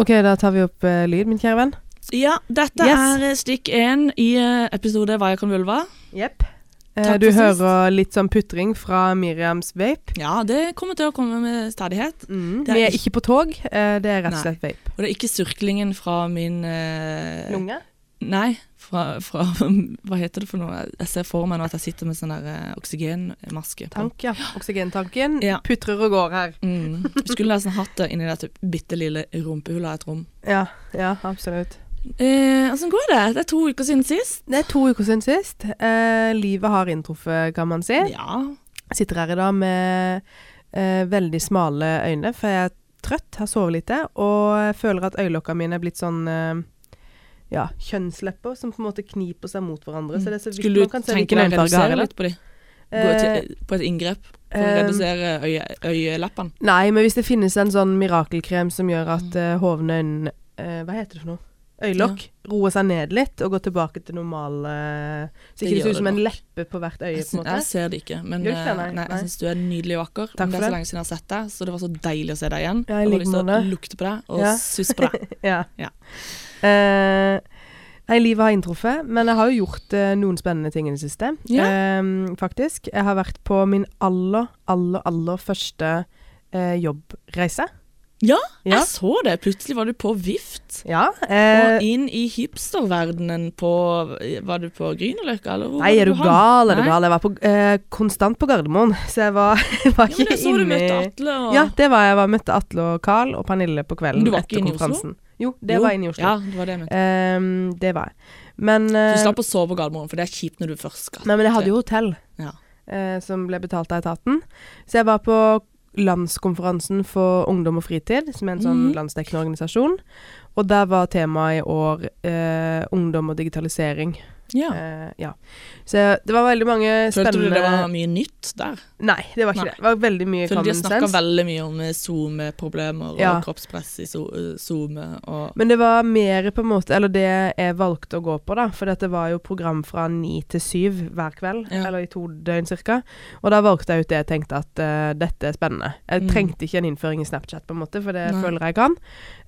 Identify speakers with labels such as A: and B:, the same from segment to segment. A: Ok, da tar vi opp eh, lyd, min kjære venn.
B: Ja, dette
A: Yes.
B: er eh, stikk én i eh, episode Hva jeg kan vulva.
A: Eh,
B: Takk
A: du
B: for sist.
A: hører litt sånn putring fra Miriams vape.
B: Ja, det kommer til å komme med stadighet.
A: Mm.
B: Det er
A: Vi er
B: ikke-
A: ikke på tog, eh, det er rett og
B: Nei.
A: slett vape.
B: Og det er ikke surklingen fra min eh,
A: Lunge?
B: Nei, fra, fra Hva heter det for noe? Jeg ser for meg nå at jeg sitter med sånn der eh, oksygenmaske. på.
A: Tank, ja. Oksygentanken
B: Ja.
A: putrer og går her.
B: Mm. Skulle nesten hatt det inni det typ, bitte lille rumpehullet av et rom.
A: Ja, ja, absolutt.
B: Eh, Åssen går det? Det er to uker siden sist.
A: Det er to uker siden sist. Eh, livet har inntruffet, kan man si.
B: Ja.
A: Jeg sitter her i dag med eh, veldig smale øyne, for jeg er trøtt, har sovet lite, og jeg føler at øyelokkene mine er blitt sånn eh, ja, kjønnslepper som på en måte kniper seg mot hverandre. Så det er så vidt
B: Skulle
A: man
B: du
A: kan se
B: tenke
A: hvilken
B: deg å
A: øyenfarge jeg har
B: redusere
A: i dag.
B: litt på de? Gå til, eh, på et inngrep for å
A: Eh,
B: redusere øye, øyelappene?
A: Nei, men hvis det finnes en sånn mirakelkrem som gjør
B: Mm.
A: at eh, hovne øyne eh, Hva heter det for noe? Øyelokk roer seg ned litt og går tilbake til normal eh, Så
B: Det
A: ikke det
B: gjør
A: ser ut som
B: det
A: en
B: nok.
A: leppe på hvert øye,
B: Jeg,
A: på en
B: syn-
A: måte.
B: jeg ser det ikke, men
A: Gjør du ikke det?
B: eh,
A: Nei,
B: nei,
A: nei.
B: jeg syns du er nydelig og vakker.
A: Takk
B: men det
A: for
B: er
A: det.
B: så lenge siden jeg har sett deg, så det var så deilig å se deg igjen.
A: Ja, i
B: jeg
A: like
B: har lyst til å
A: måte.
B: lukte på deg og
A: Ja.
B: susse på deg.
A: Ja.
B: Ja.
A: Eh, nei, livet har inntruffet, men jeg har jo gjort eh, noen spennende ting i det siste.
B: Ja.
A: Eh, faktisk. Jeg har vært på min aller, aller, aller første eh, jobbreise.
B: Ja,
A: Ja.
B: jeg så det. Plutselig var du på vift.
A: Ja.
B: Og
A: eh,
B: inn i hipsterverdenen på Var du på Grünerløkka, eller hvor?
A: Nei, er du
B: hen?
A: gal? Er du
B: Nei.
A: gal? Jeg var på, eh, konstant på Gardermoen, så jeg var, var
B: Ja, men
A: ikke
B: jeg så du
A: inne
B: møtte
A: i
B: Atle og
A: Ja, det var jeg. var Møtte Atle og Carl og Pernille på kvelden
B: Men du var
A: etter
B: ikke inne i Oslo?
A: konferansen. Jo, det
B: Jo,
A: var inne i Oslo.
B: Ja, det var det jeg mente.
A: Eh, det var jeg. Men
B: Så
A: eh,
B: du slapp å sove på Gardermoen, for det er kjipt når du først skal.
A: Nei, men jeg hadde jo hotell
B: Ja.
A: eh, som ble betalt av etaten. Så jeg var på landskonferansen for ungdom og fritid, som er en sånn
B: Mhm.
A: landsdekkende organisasjon. Og der var temaet i år eh, ungdom og digitalisering.
B: Ja.
A: Eh, ja. Så det var veldig mange
B: Følte du
A: spennende
B: det var mye nytt der?
A: Nei, det var ikke
B: Nei.
A: det. Det var veldig mye
B: Følte de
A: common
B: snakka
A: sense.
B: veldig mye om eh, SoMe-problemer og
A: Ja.
B: kroppspress i so- eh, SoMe og
A: Men det var mer på en måte Eller det jeg valgte å gå på, da. For dette var jo program fra ni til syv hver kveld.
B: Ja.
A: Eller i to døgn ca. Og da valgte jeg ut det jeg tenkte at eh, dette er spennende. Jeg
B: Mm.
A: trengte ikke en innføring i Snapchat, på en måte, for det
B: Nei.
A: føler jeg kan.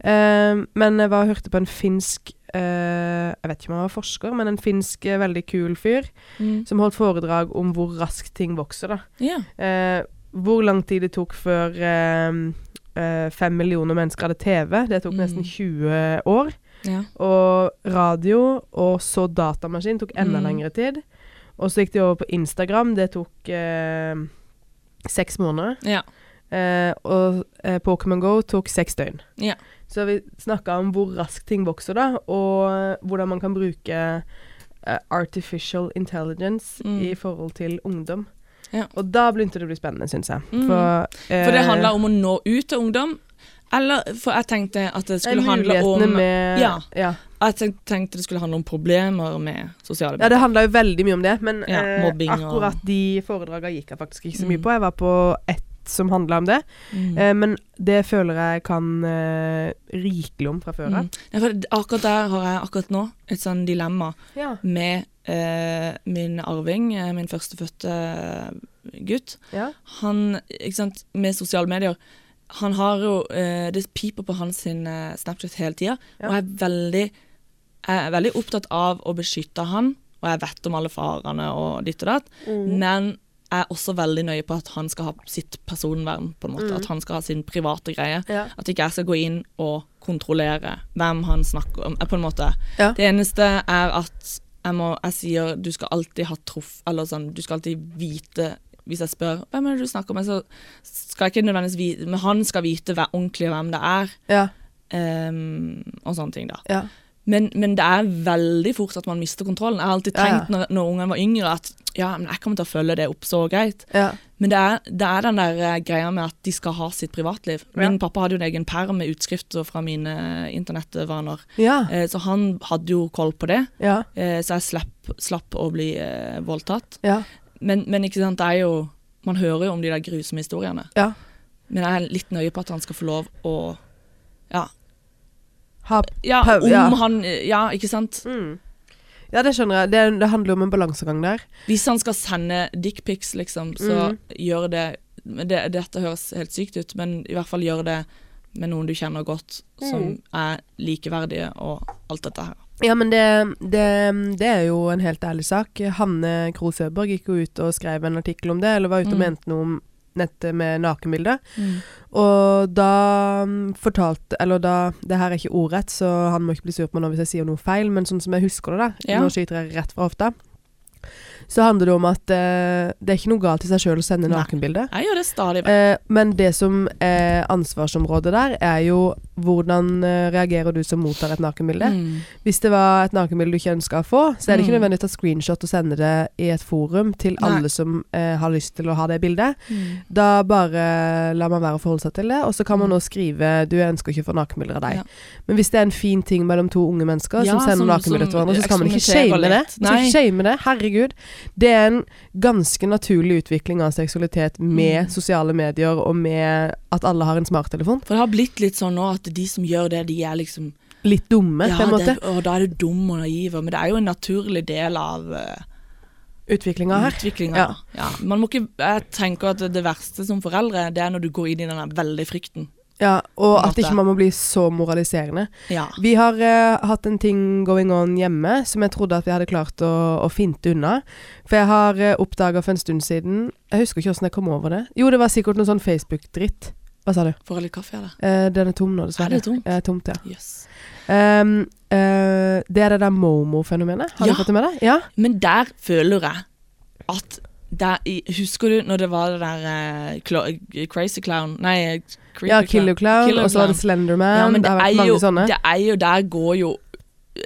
A: Eh, men jeg var og hørte på en finsk eh, Jeg vet ikke om han var forsker, men en finsk eh, veldig kul fyr
B: mm.
A: som holdt foredrag om hvor raskt ting vokser, da.
B: Ja.
A: Eh, hvor lang tid det tok før eh, eh, fem millioner mennesker hadde TV. Det tok
B: Mm.
A: nesten 20 år.
B: ja.
A: Og radio, og så datamaskin tok enda
B: Mm.
A: lengre tid. Og så gikk de over på Instagram. Det tok eh, seks måneder.
B: Ja.
A: Eh, og eh, Pokémon Go tok seks døgn.
B: Ja.
A: Så vi snakka om hvor raskt ting vokser, da, og hvordan man kan bruke eh, artificial intelligence
B: Mm.
A: i forhold til ungdom.
B: Ja.
A: Og da begynte det å bli spennende, syns jeg.
B: Mm.
A: For, eh,
B: For det handla om å nå ut til ungdom. Eller For jeg tenkte at det skulle handle
A: eh, mulighetene
B: om
A: med
B: Ja.
A: ja.
B: Jeg tenk- tenkte det skulle handle om problemer med sosiale
A: Ja,
B: medier.
A: det handla jo veldig mye om det, men
B: Ja,
A: eh,
B: mobbing og-
A: akkurat de foredraga gikk jeg faktisk ikke så mye
B: Mm.
A: på. Jeg var på ett som handla om det,
B: Mm.
A: eh, men det føler jeg kan eh, rikelig om fra før av.
B: Mm. Ja, for det- akkurat der har jeg akkurat nå et sånn dilemma
A: Ja.
B: med eh, min arving, eh, min førstefødte gutt.
A: Ja.
B: Han, ikke sant, med sosiale medier Han har jo eh, Det piper på hans sin, eh, Snapchat hele tida,
A: Ja.
B: og jeg er veldig jeg er veldig opptatt av å beskytte han, og jeg vet om alle farene og ditt og datt.
A: Mm.
B: Men jeg er også veldig nøye på at han skal ha sitt personvern, på en måte.
A: Mm.
B: At han skal ha sin private greie.
A: Ja.
B: At ikke jeg skal gå inn og kontrollere hvem han snakker om, eh, på en måte.
A: Ja.
B: Det eneste er at jeg, må, jeg sier du skal alltid ha truff, eller sånn, du skal alltid vite hvis jeg spør hvem er det du snakker med, så skal jeg ikke nødvendigvis vite Men han skal vite hver, ordentlig hvem det er,
A: Ja.
B: ehm, og sånne ting, da.
A: Ja.
B: Men, men det er veldig fort at man mister kontrollen. Jeg har alltid
A: Ja, ja.
B: tenkt når, når ungen var yngre at ja, men jeg kommer til å følge det opp så greit.
A: Ja.
B: Men det er, det er den der eh, greia med at de skal ha sitt privatliv. Min
A: Ja.
B: pappa hadde jo en egen perm med utskrifter fra mine eh, internettvaner.
A: Ja.
B: Eh, så han hadde jo koll på det.
A: Ja.
B: Eh, så jeg slapp, slapp å bli eh, voldtatt.
A: Ja.
B: Men, men ikke sant, det er jo Man hører jo om de der grusomme historiene.
A: Ja.
B: Men jeg er litt nøye på at han skal få lov å Ja,
A: Ha,
B: ja
A: Pau-
B: om
A: ja.
B: han eh, Ja, ikke sant?
A: mm. ja, det skjønner jeg. Det, det handler jo om en balansegang der.
B: Hvis han skal sende dickpics, liksom, så
A: Mhm.
B: gjør det, men det Dette høres helt sykt ut, men i hvert fall gjør det med noen du kjenner godt, som
A: Mm.
B: er likeverdige og alt dette her.
A: Ja, men det, det, det er jo en helt ærlig sak. Hanne Krohg Søberg gikk jo ut og skrev en artikkel om det, eller var ute og
B: Mm.
A: mente noe om dette med nakenbilder. Og da mm, fortalte Eller da Det her er ikke ordrett, så han må ikke bli sur på meg nå hvis jeg sier noe feil, men sånn som jeg husker det, da
B: Ja.
A: Nå skyter jeg rett fra hofta. Så handler det om at eh, det er ikke noe galt i seg sjøl å sende
B: Nei.
A: nakenbilder.
B: Jeg gjør det stadig vekk.
A: Eh, men det som er ansvarsområdet der, er jo hvordan eh, reagerer du som mottar et nakenbilde?
B: Mm.
A: Hvis det var et nakenbilde du ikke ønska å få, så er det ikke
B: Mm.
A: nødvendig å ta screenshot og sende det i et forum til
B: Nei.
A: alle som eh, har lyst til å ha det bildet. Da bare lar man være å forholde seg til det, og så kan man nå skrive 'du jeg ønsker ikke å få nakenbilder av deg'.
B: Mm. Ja.
A: Men hvis det er en fin ting mellom to unge mennesker
B: Ja,
A: som sender
B: som-
A: nakenbilder
B: som
A: til hverandre, så skal man ikke
B: eksperimenterer
A: shame det.
B: litt.
A: Man skal
B: Nei.
A: ikke shame det. Herregud. Det er en ganske naturlig utvikling av seksualitet med
B: Mm.
A: sosiale medier og med at alle har en smarttelefon.
B: For det har blitt litt sånn nå at de som gjør det, de er liksom
A: Litt dumme, på en måte.
B: det, og da er du dum og naiv, men det er jo en naturlig del av uh,
A: Utviklinga her.
B: utviklinga.
A: Ja.
B: Ja. Man må ikke Jeg tenker at det verste som foreldre, det er når du går inn i den der veldig frykten.
A: Ja,
B: på
A: og
B: en
A: at ikke
B: måte.
A: man må bli så moraliserende.
B: Ja.
A: Vi har eh, hatt en ting going on hjemme som jeg trodde at vi hadde klart å, å finte unna. For jeg har uh, oppdaga for en stund siden Jeg husker ikke åssen jeg kom over det. Jo, det var sikkert noe sånn Facebook-dritt. Hva sa du?
B: Får jeg litt kaffe, eller?
A: Eh, den er tom nå, dessverre.
B: Er det tomt?
A: Eh, tomt, ja.
B: Jøss. Yes.
A: Ehm, eh, det er det der momo-fenomenet. Har
B: Ja.
A: du fått det med deg? Ja.
B: Men der føler jeg at der, i- Husker du når det var det der eh, klo- Crazy Clown Nei, eh, Creepy
A: ja Killer Clown,
B: Killer
A: og så var det
B: Clown.
A: Slenderman.
B: Ja,
A: det,
B: men det
A: har vært
B: er,
A: mange
B: jo,
A: sånne.
B: det er jo Der går jo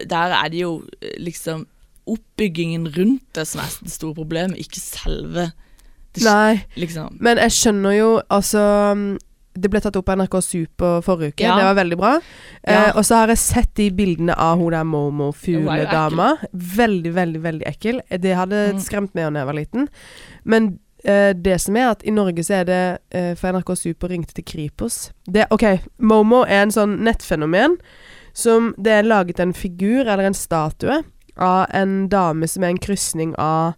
B: Der er det jo eh, liksom oppbyggingen rundt det som er det store problemet, ikke selve det-
A: Nei,
B: liksom.
A: men jeg skjønner jo Altså mm, det ble tatt opp på NRK Super forrige uke,
B: Ja.
A: det var veldig bra.
B: Ja.
A: Eh, og så har jeg sett de bildene av hun der Momo-fugledama. Veldig, veldig veldig ekkel. Det hadde
B: Mm.
A: skremt meg da jeg var liten. Men eh, det som er at i Norge så er det eh, For NRK Super ringte til Kripos. Det, OK, Momo er en sånn nettfenomen som Det er laget en figur, eller en statue, av en dame som er en krysning av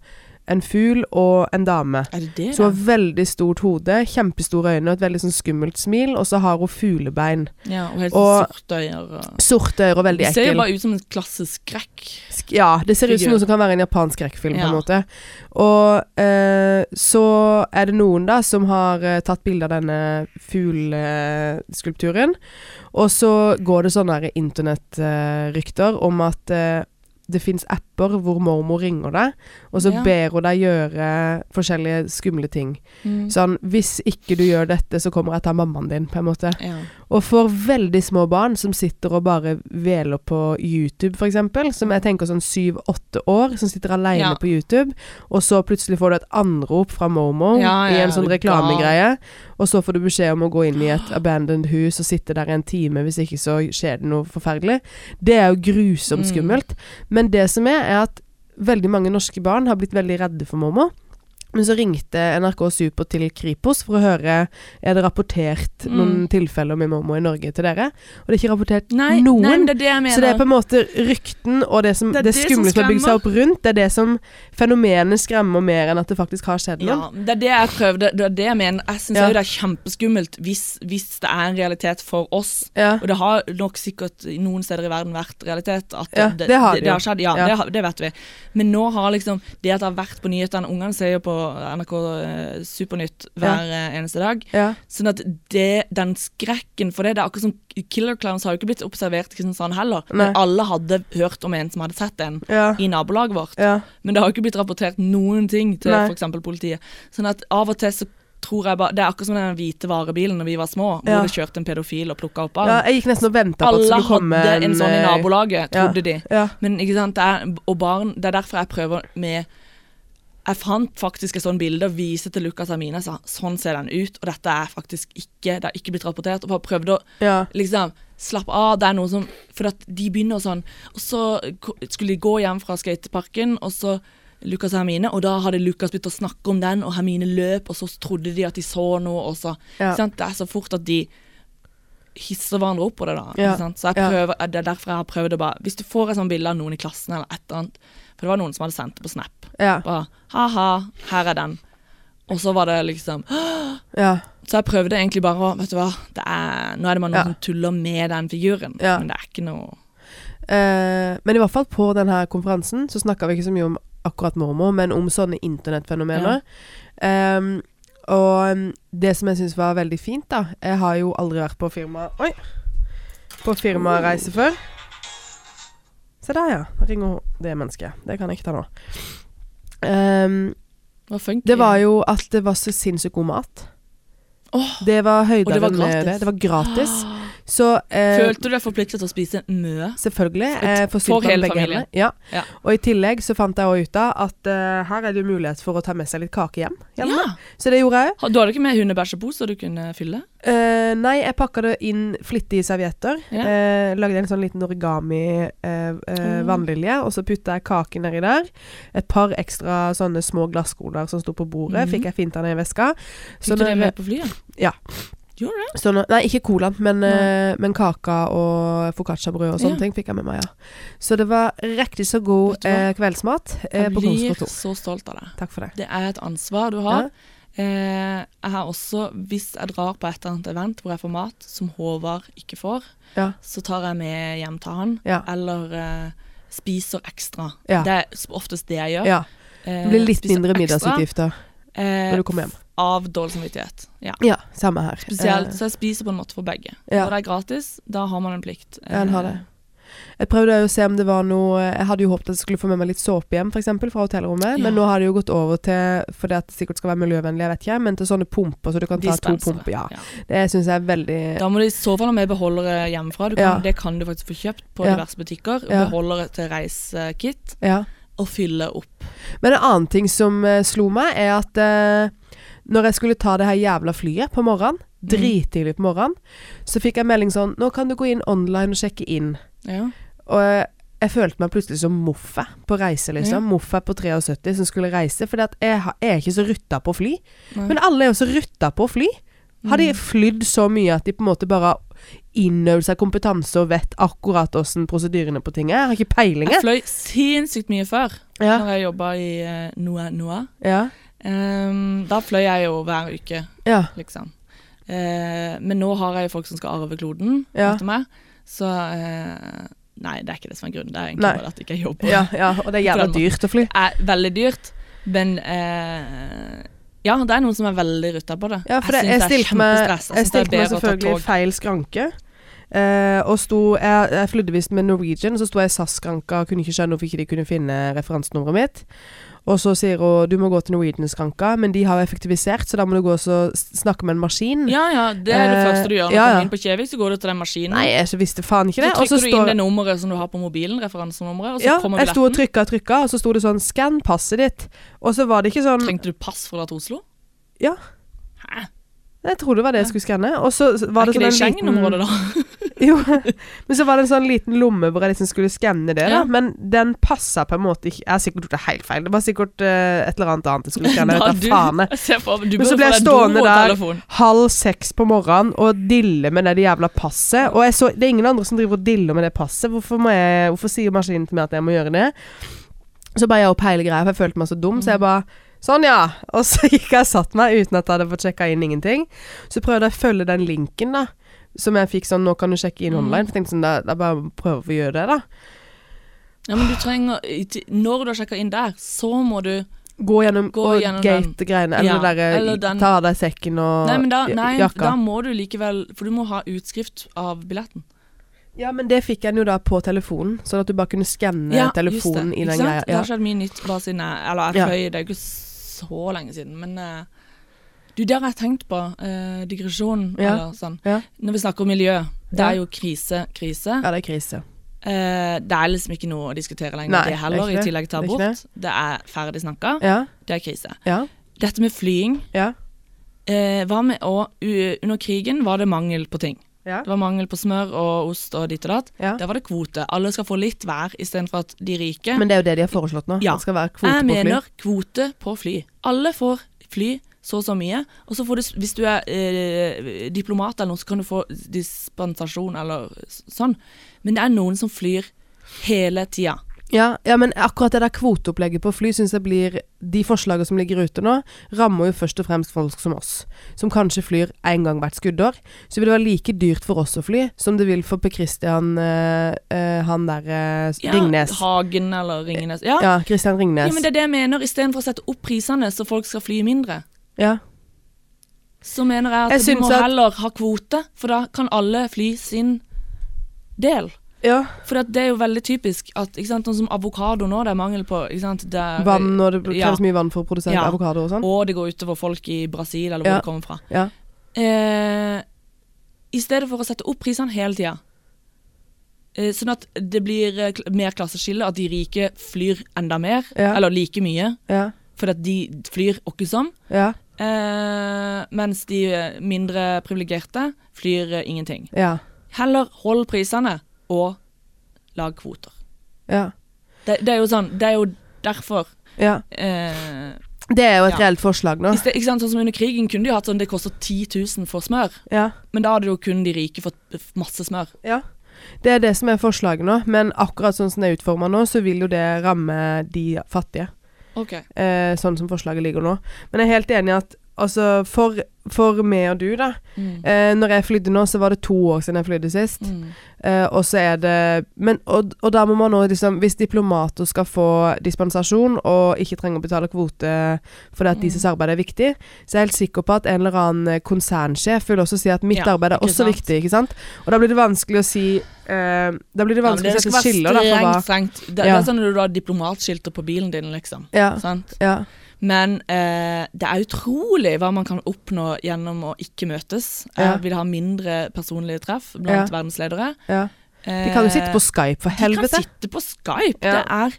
A: en fugl og en dame.
B: Er det det?
A: Så hun har veldig stort hode, kjempestore øyne og et veldig sånn skummelt smil, og så har hun fuglebein.
B: da? ja, og helt
A: og-
B: sorte øyne. og-
A: Sorte ører, veldig
B: Det ser jo
A: ekkel.
B: bare ut som en klasseskrekk.
A: Sk- Ja, det ser ut som
B: Figur.
A: noe som kan være en japansk skrekkfilm, på en
B: Ja.
A: måte. Og eh, så er det noen, da, som har eh, tatt bilde av denne fugleskulpturen. Og så går det sånne internettrykter om at eh, det fins apper hvor mormor ringer deg, og så
B: Ja.
A: ber hun deg gjøre forskjellige skumle ting. Sånn, hvis ikke du gjør dette, så kommer jeg til å ta mammaen din, på en måte.
B: Ja.
A: Og for veldig små barn som sitter og bare veler på YouTube, f.eks., som jeg tenker sånn syv-åtte år, som sitter aleine
B: Ja.
A: på YouTube, og så plutselig får du et anrop fra Momo
B: Ja, ja,
A: i en
B: er
A: sånn
B: du
A: reklamegreie, og så får du beskjed om å gå inn i et abandoned hus og sitte der en time, hvis ikke så skjer det noe forferdelig. Det er jo grusomt
B: Mm.
A: skummelt. Men det som er, er at veldig mange norske barn har blitt veldig redde for Momo. Men så ringte NRK Super til Kripos for å høre er det rapportert
B: Mm.
A: noen tilfeller med Momo i Norge til dere. Og det er ikke rapportert
B: Nei,
A: noen.
B: nei, men det er det jeg mener.
A: så det er på en måte rykten og det, som,
B: Det
A: det,
B: er det som
A: skumle som har bygd seg opp rundt, det er det som fenomenet skremmer mer enn at det faktisk har skjedd noe.
B: Ja, det er det jeg prøvde. Det er det jeg mener. Jeg syns
A: Ja.
B: det er kjempeskummelt hvis, hvis det er en realitet for oss.
A: Ja.
B: Og det har nok sikkert i noen steder i verden vært realitet. At
A: Ja, det har det
B: det,
A: jo.
B: har skjedd. Ja,
A: Ja.
B: Det, har, det vet vi. Men nå har liksom det at det har vært på nyhetene Ungene ser jo på NRK eh, Supernytt hver eh, eneste dag.
A: Ja.
B: Sånn at det, den skrekken for det Det er akkurat som Killer Clowns har jo ikke blitt observert i Kristiansand heller.
A: Nei.
B: Men alle hadde hørt om en som hadde sett en
A: Ja.
B: i nabolaget vårt.
A: Ja.
B: Men det har jo ikke blitt rapportert noen ting til
A: Nei.
B: f.eks. politiet. Sånn at av og til så tror jeg bare Det er akkurat som den hvite varebilen når vi var små, hvor
A: Ja.
B: det kjørte en pedofil og plukka
A: ja.
B: opp barn.
A: Jeg gikk nesten og venta på at det
B: Alle
A: skulle komme
B: hadde en sånn i
A: ja.
B: nabolaget, trodde de.
A: Ja.
B: Men ikke sant, det er, og barn Det er derfor jeg prøver med jeg fant faktisk et sånt bilde og viste til Lukas Amine. Sa, sånn ser den ut, og dette er faktisk ikke Det har ikke blitt rapportert. Og bare prøvde å
A: Ja.
B: liksom Slapp av, det er noe som For at de begynner og sånn Og så ko- skulle de gå hjem fra skateparken Og så Lukas og Hermine Og da hadde Lukas begynt å snakke om den Og Hermine løp Og så trodde de at de så noe Og så
A: Ja.
B: Ikke sant? Det er så fort at de Hisser hverandre opp på det da ikke
A: Ja.
B: sant? Så jeg
A: Ja.
B: prøver Det er derfor jeg har prøvd å bare Hvis du får et sånt bilde av noen i klassen Eller et eller annet For det var noen som hadde sendt det på Snap
A: Ja.
B: Bare, haha, her er den Og så var det liksom
A: ja.
B: Så jeg prøvde egentlig bare å Vet du hva, det er, nå er det bare noen
A: Ja.
B: som tuller med den figuren.
A: Ja.
B: Men det er ikke noe
A: Eh, men i hvert fall på denne konferansen så snakka vi ikke så mye om akkurat mormor, men om sånne internettfenomener. Ehm, og mm, det som jeg syns var veldig fint, da Jeg har jo aldri vært på firma Oi! På firmareise før. Se der, ja. Da ringer det mennesket. Det kan jeg ikke ta nå. Ehm,
B: Det var funky.
A: det var jo at det var så sinnssykt god mat.
B: Åh.
A: Det var
B: Og det var
A: høydere med
B: gratis.
A: det. Det var gratis. Så eh,
B: Følte du deg forpliktet til å spise mø?
A: Selvfølgelig.
B: For-
A: eh, forsynt
B: for
A: med
B: hele
A: begge
B: familien.
A: hendene. Ja.
B: Ja.
A: Og i tillegg så fant jeg også ut av at eh, her er det jo mulighet for å ta med seg litt kake hjem. hjem.
B: Ja.
A: Så det gjorde jeg òg.
B: Ha- Du hadde ikke med hundebæsjepose du kunne fylle?
A: Eh, nei, jeg pakka det inn flittige servietter.
B: Ja.
A: eh, lagde en sånn liten origami eh, eh,
B: Mm.
A: vannlilje, og så putta jeg kake nedi der. Et par ekstra sånne små glasskoler som sto på bordet,
B: Mhm.
A: fikk jeg finta ned i veska. Så
B: Fikk du
A: når-
B: det med på flyet?
A: Ja.
B: Gjorde du det?
A: Så nå- Sånn, nei, ikke colaen, men,
B: Nei.
A: eh, men kaka og foccacciabrød og sånne
B: Ja.
A: ting fikk jeg med meg, ja. Så det var riktig så god
B: Vet du hva?
A: eh, kveldsmat eh,
B: Jeg
A: på
B: blir
A: Kongskontor.
B: så stolt av deg.
A: Takk for det.
B: Det er et ansvar du har. Eh, jeg har også, hvis jeg drar på et eller annet event hvor jeg får mat som Håvard ikke får,
A: Ja.
B: så tar jeg med hjem til han,
A: Ja.
B: eller eh, spiser ekstra.
A: Ja.
B: Det er s- oftest det jeg gjør.
A: Ja.
B: Eh,
A: Det blir litt
B: spiser
A: mindre
B: ekstra,
A: middagsutgifter
B: eh,
A: når du kommer hjem.
B: Av dårlig samvittighet. Ja.
A: Ja, samme her.
B: Spesielt, så jeg spiser på en måte for begge.
A: Eh. Ja.
B: Når det er gratis, da har man en plikt.
A: Eh, ja, en har det. Jeg prøvde jo å se om det var noe Jeg hadde jo håpet at jeg skulle få med meg litt såpe hjem, f.eks. fra hotellrommet,
B: Ja.
A: men nå har det jo gått over til Fordi at det sikkert skal være miljøvennlig, jeg vet ikke, men til sånne pumper, så du kan ta to
B: Dispensere.
A: pumper. Ja.
B: Ja.
A: Det syns jeg er veldig
B: Eh, Da må du i så fall ha med beholdere hjemmefra. Du kan,
A: Ja.
B: Det kan du faktisk få kjøpt på
A: Ja.
B: diverse butikker.
A: Ja.
B: Beholdere til reisekit,
A: Ja.
B: og fylle opp.
A: Men en annen ting som eh, slo meg, er at eh, når jeg skulle ta det her jævla flyet på morgenen, dritidlig på morgenen, så fikk jeg melding sånn Nå kan du gå inn online og sjekke inn.
B: Ja.
A: Og eh, jeg følte meg plutselig som Moffe på reise, liksom.
B: Ja.
A: Moffe på 73 som skulle reise. For jeg, har- jeg er ikke så rutta på å fly.
B: Nei.
A: Men alle er jo så rutta på å fly. Har de flydd så mye at de på en måte bare har innøvd seg kompetanse og vet akkurat åssen prosedyrene på ting er? Jeg har ikke peiling,
B: Jeg
A: jeg.
B: fløy sinnssykt mye før,
A: Ja,
B: når jeg jobba i eh, Noa Noa.
A: ja,
B: Ehm, da fløy jeg jo hver uke,
A: ja.
B: liksom. Eh, men nå har jeg jo folk som skal arve kloden
A: Ja.
B: etter meg, så eh, Nei, det er ikke det som er grunnen. Det er egentlig
A: Nei.
B: bare at jeg ikke jobber.
A: ja, ja. Og det er jævla dyrt å fly.
B: Det er veldig dyrt, men eh, ja, det er noen som er veldig rutta på det.
A: Ja, for jeg,
B: synes
A: jeg
B: det er
A: stilte meg,
B: kjempestress.
A: jeg
B: synes det er
A: stilte meg
B: bedre å ta
A: selvfølgelig i
B: tog.
A: feil skranke. eh, og sto, jeg, jeg flydde visst med Norwegian, så sto jeg i SAS-skranka og kunne ikke skjønne hvorfor ikke de kunne finne referansenummeret mitt. Og så sier hun du må gå til Norwegian-skranka, men de har jo effektivisert, så da må du gå og så s- snakke med en maskin.
B: Ja, ja, det er det
A: Eh,
B: første du gjør.
A: ja,
B: Når du
A: ja.
B: kommer inn på Kjevik, så går du til den maskinen.
A: Nei, jeg så visste faen ikke det.
B: Så
A: Og så
B: trykker du inn
A: står
B: det nummeret som du har på mobilen, referansenummeret, og så
A: ja,
B: kommer
A: jeg sto og
B: billetten.
A: trykka og trykka, og så sto det sånn 'skann passet ditt'. Og så var det ikke sånn
B: Trengte du pass for å dra til Oslo?
A: Ja.
B: Hæ?
A: Jeg trodde det var det jeg skulle skanne. Og så så var
B: er
A: det
B: ikke
A: sånn
B: det
A: en liten
B: Schengen-området, da?
A: Jo, men så var det en sånn liten lomme hvor jeg liksom skulle skanne det, da.
B: Ja.
A: Men den passa på en måte ikke Jeg har sikkert gjort det helt feil. Det var sikkert eh, et eller annet annet jeg skulle skanne.
B: Da,
A: Jeg vet da faen. jeg.
B: jeg ser for, du
A: Men så ble
B: burde få
A: jeg
B: deg
A: stående der.
B: Doro-telefon.
A: Halv seks på morgenen og dille med det jævla passet. Og jeg så, det er ingen andre som driver og diller med det passet. Hvorfor, må jeg, hvorfor sier maskinen til meg at jeg må gjøre det? Så ba jeg opp hele greia, for jeg følte meg så dum.
B: Mm.
A: Så jeg bare Sånn, ja. Og så gikk jeg og satte meg uten at jeg hadde fått sjekka inn ingenting. Så prøvde jeg å følge den linken, da. Som jeg fikk sånn Nå kan du sjekke inn
B: Mm.
A: online. For jeg tenkte sånn, da, da bare prøver vi å gjøre det, da.
B: Ja, men du trenger i ti- Når du har sjekka inn der, så må du
A: Gå gjennom,
B: Gå
A: og
B: gjennom
A: gate-greiene. Eller,
B: Ja,
A: det derre
B: eller den-
A: ta av deg sekken og
B: Nei, men da,
A: j-
B: nei,
A: jakka.
B: da må du likevel For du må ha utskrift av billetten.
A: Ja, men det fikk en jo da på telefonen, sånn at du bare kunne skanne telefonen i
B: Ikke
A: den
B: sant?
A: greia.
B: Det
A: Ja.
B: har skjedd mye nytt bare siden jeg Eller
A: Ja.
B: jeg fløy, det er jo ikke så lenge siden, men eh, Du, det har jeg tenkt på. eh, digresjon,
A: Ja.
B: eller sånn.
A: Ja.
B: Når vi snakker om miljø, det
A: Ja.
B: er jo krise, krise.
A: ja, det er krise.
B: Eh, det er liksom ikke noe å diskutere lenger,
A: Nei,
B: det
A: det
B: heller,
A: er ikke det.
B: i tillegg til
A: Det er
B: abort.
A: ikke
B: Det. er ferdig snakka,
A: Ja,
B: det er krise.
A: ja,
B: Dette med flying
A: ja.
B: eh, var med å u- Under krigen var det mangel på ting.
A: Ja.
B: Det var mangel på smør og ost og ditt og datt.
A: Ja.
B: Der var det kvote. Alle skal få litt hver, istedenfor at de rike
A: Men det er jo det de har foreslått nå.
B: Ja.
A: Det skal være kvote
B: Jeg
A: på fly.
B: mener kvote på fly. Alle får fly så og så mye, og så får du, s- hvis du er eh, diplomat eller noe, så kan du få dispensasjon eller s- sånn. Men det er noen som flyr hele tida.
A: Ja, ja, men akkurat det der kvoteopplegget på fly syns jeg blir De forslagene som ligger ute nå, rammer jo først og fremst folk som oss. Som kanskje flyr én gang hvert skuddår. Så vil det være like dyrt for oss å fly som det vil for Per Christian eh, eh, han der eh,
B: Ja,
A: Ringnes.
B: Hagen eller Ringnes. Ja,
A: Ja, Christian
B: ja,
A: Ringnes.
B: men det er det jeg mener. Istedenfor å sette opp prisene så folk skal fly mindre,
A: Ja.
B: så mener jeg at
A: Jeg
B: vi må
A: syns at-
B: heller ha kvote, for da kan alle fly sin del.
A: ja.
B: For at det er jo veldig typisk at ikke sant, noe som avokado nå, det er mangel på ikke sant, det er,
A: Vann, og det
B: Ja.
A: kreves mye vann for å produsere
B: Ja.
A: avokado og sånn.
B: Og det går utover folk i Brasil, eller hvor
A: Ja.
B: det kommer fra.
A: Ja.
B: Eh, I stedet for å sette opp prisene hele tida. Eh, sånn at det blir eh, kl- mer klasseskille, at de rike flyr enda mer,
A: Ja.
B: eller like mye,
A: Ja.
B: fordi at de flyr åkke som.
A: Ja.
B: Eh, mens de eh, mindre privilegerte flyr eh, ingenting.
A: Ja.
B: Heller hold prisene og lag kvoter.
A: ja.
B: Det, det er jo sånn, det er jo derfor
A: ja.
B: eh,
A: Det er jo et
B: Ja.
A: reelt forslag nå.
B: i sted, ikke sant, Sånn som under krigen kunne de jo hatt sånn det koster 10 000 for smør,
A: Ja.
B: men da hadde jo kun de rike fått f- masse smør.
A: Ja. Det er det som er forslaget nå, men akkurat sånn som det er utforma nå, så vil jo det ramme de fattige.
B: Ok.
A: Eh, sånn som forslaget ligger nå. Men jeg er helt enig i at altså for, for meg og du, da.
B: Mm.
A: Eh, når jeg flydde nå, så var det to år siden jeg flydde sist.
B: Mm.
A: Eh, og så er det men, og, og da må man nå liksom Hvis diplomater skal få dispensasjon og ikke trenger å betale kvote fordi at
B: Mm.
A: deres arbeid er viktig, så er jeg helt sikker på at en eller annen eh, konsernsjef vil også si at mitt
B: Ja,
A: arbeid er
B: ikke
A: også
B: sant.
A: viktig, ikke sant? Og da blir det vanskelig å si eh, Da blir det
B: Ja, men
A: vanskelig
B: det
A: å
B: skal
A: sette
B: være
A: skiller, da, for hva
B: strengt, strengt. Det, det
A: Ja. Ah.
B: er sånn når du har diplomatskilter på bilen din, liksom.
A: Ja.
B: Sant?
A: Ja.
B: Men eh, det er utrolig hva man kan oppnå gjennom å ikke møtes.
A: Ja.
B: Jeg vil ha mindre personlige treff
A: Ja.
B: blant verdensledere.
A: ja. De kan jo sitte på Skype, for
B: Eh, De kan
A: helvete.
B: sitte på Skype.
A: Ja.
B: Det er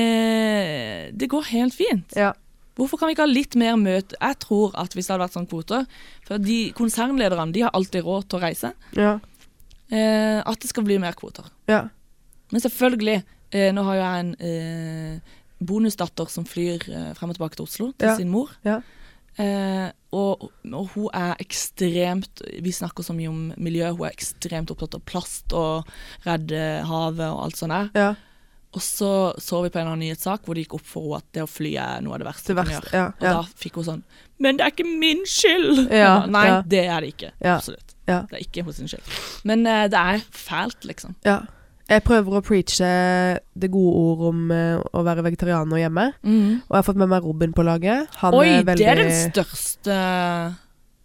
B: eh, Det går helt fint.
A: Ja.
B: Hvorfor kan vi ikke ha litt mer møte? Jeg tror at hvis det hadde vært sånn kvoter For de konsernlederne de har alltid råd til å reise.
A: Ja.
B: Eh, at det skal bli mer kvoter.
A: Ja.
B: Men selvfølgelig, eh, nå har jo jeg en eh, bonusdatter som flyr eh, frem og tilbake til Oslo til
A: Ja.
B: sin mor.
A: Ja.
B: Eh, og, og hun er ekstremt Vi snakker så mye om miljø. Hun er ekstremt opptatt av plast og redde havet og alt sånt der.
A: ja.
B: Og så så vi på en eller annen nyhetssak hvor det gikk opp for henne at det å fly er noe av det
A: Det
B: verste hun kan
A: verste.
B: gjøre.
A: Ja.
B: Og
A: Ja.
B: da fikk hun sånn Men det er ikke min skyld!
A: Ja,
B: Jeg ba, Nei,
A: ja.
B: det er det ikke.
A: Ja,
B: Absolutt.
A: ja.
B: Det er ikke hos sin skyld. Men eh, det er fælt, liksom.
A: ja. Jeg prøver å preache det gode ord om eh, å være vegetarianer hjemme. Og jeg har fått med meg Robin på laget. Mm. Han
B: Oi,
A: er veldig
B: det er den største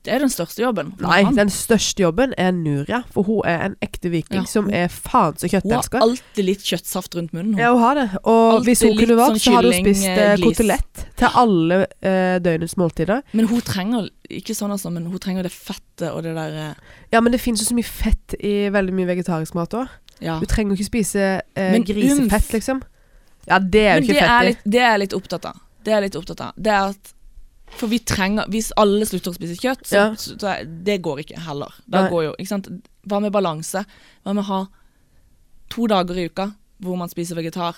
B: Det er den største jobben.
A: Nei,
B: Han-
A: den største jobben er Nuria, for hun er en ekte viking
B: Ja,
A: som
B: hun-
A: er faen så
B: Hun har
A: kjøttelsker.
B: alltid litt kjøttsaft rundt munnen. hun.
A: Ja, hun har det. Og
B: alltid
A: hvis hun
B: litt
A: kunne valgt,
B: sånn
A: så hadde hun
B: kylling,
A: spist eh,
B: eh, glis.
A: kotelett til alle eh, døgnets måltider.
B: Men hun trenger ikke sånn altså, men hun trenger det fettet og det der eh,
A: Ja, men det fins jo så mye fett i veldig mye vegetarisk mat òg.
B: Ja.
A: Du trenger jo ikke spise eh,
B: Men
A: grisefett,
B: umf.
A: liksom. Ja, det er
B: Men
A: jo
B: det
A: ikke
B: er,
A: fett i.
B: litt, det er jeg litt opptatt av. Det er jeg litt opptatt av. Det er at For vi trenger Hvis alle slutter å spise kjøtt, så,
A: Ja.
B: så, så er- det går ikke heller. Da
A: Nei.
B: går jo Ikke sant. Hva med balanse? Hva med å ha to dager i uka hvor man spiser vegetar?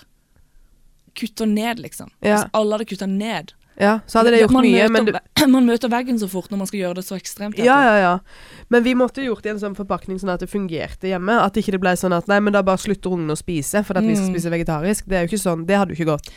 B: Kutter ned, liksom.
A: Ja.
B: Hvis alle hadde kutta ned
A: Ja, så hadde det gjort
B: man
A: mye,
B: møter,
A: men du
B: ve- Man møter veggen så fort når man skal gjøre det så ekstremt.
A: Ja, ja, ja. Men vi måtte gjort det i en sånn forpakning sånn at det fungerte hjemme. At ikke det ble sånn at nei, men da bare slutter ungene å spise fordi at vi skal
B: Mm.
A: spise vegetarisk. Det er jo ikke sånn. Det hadde jo ikke gått.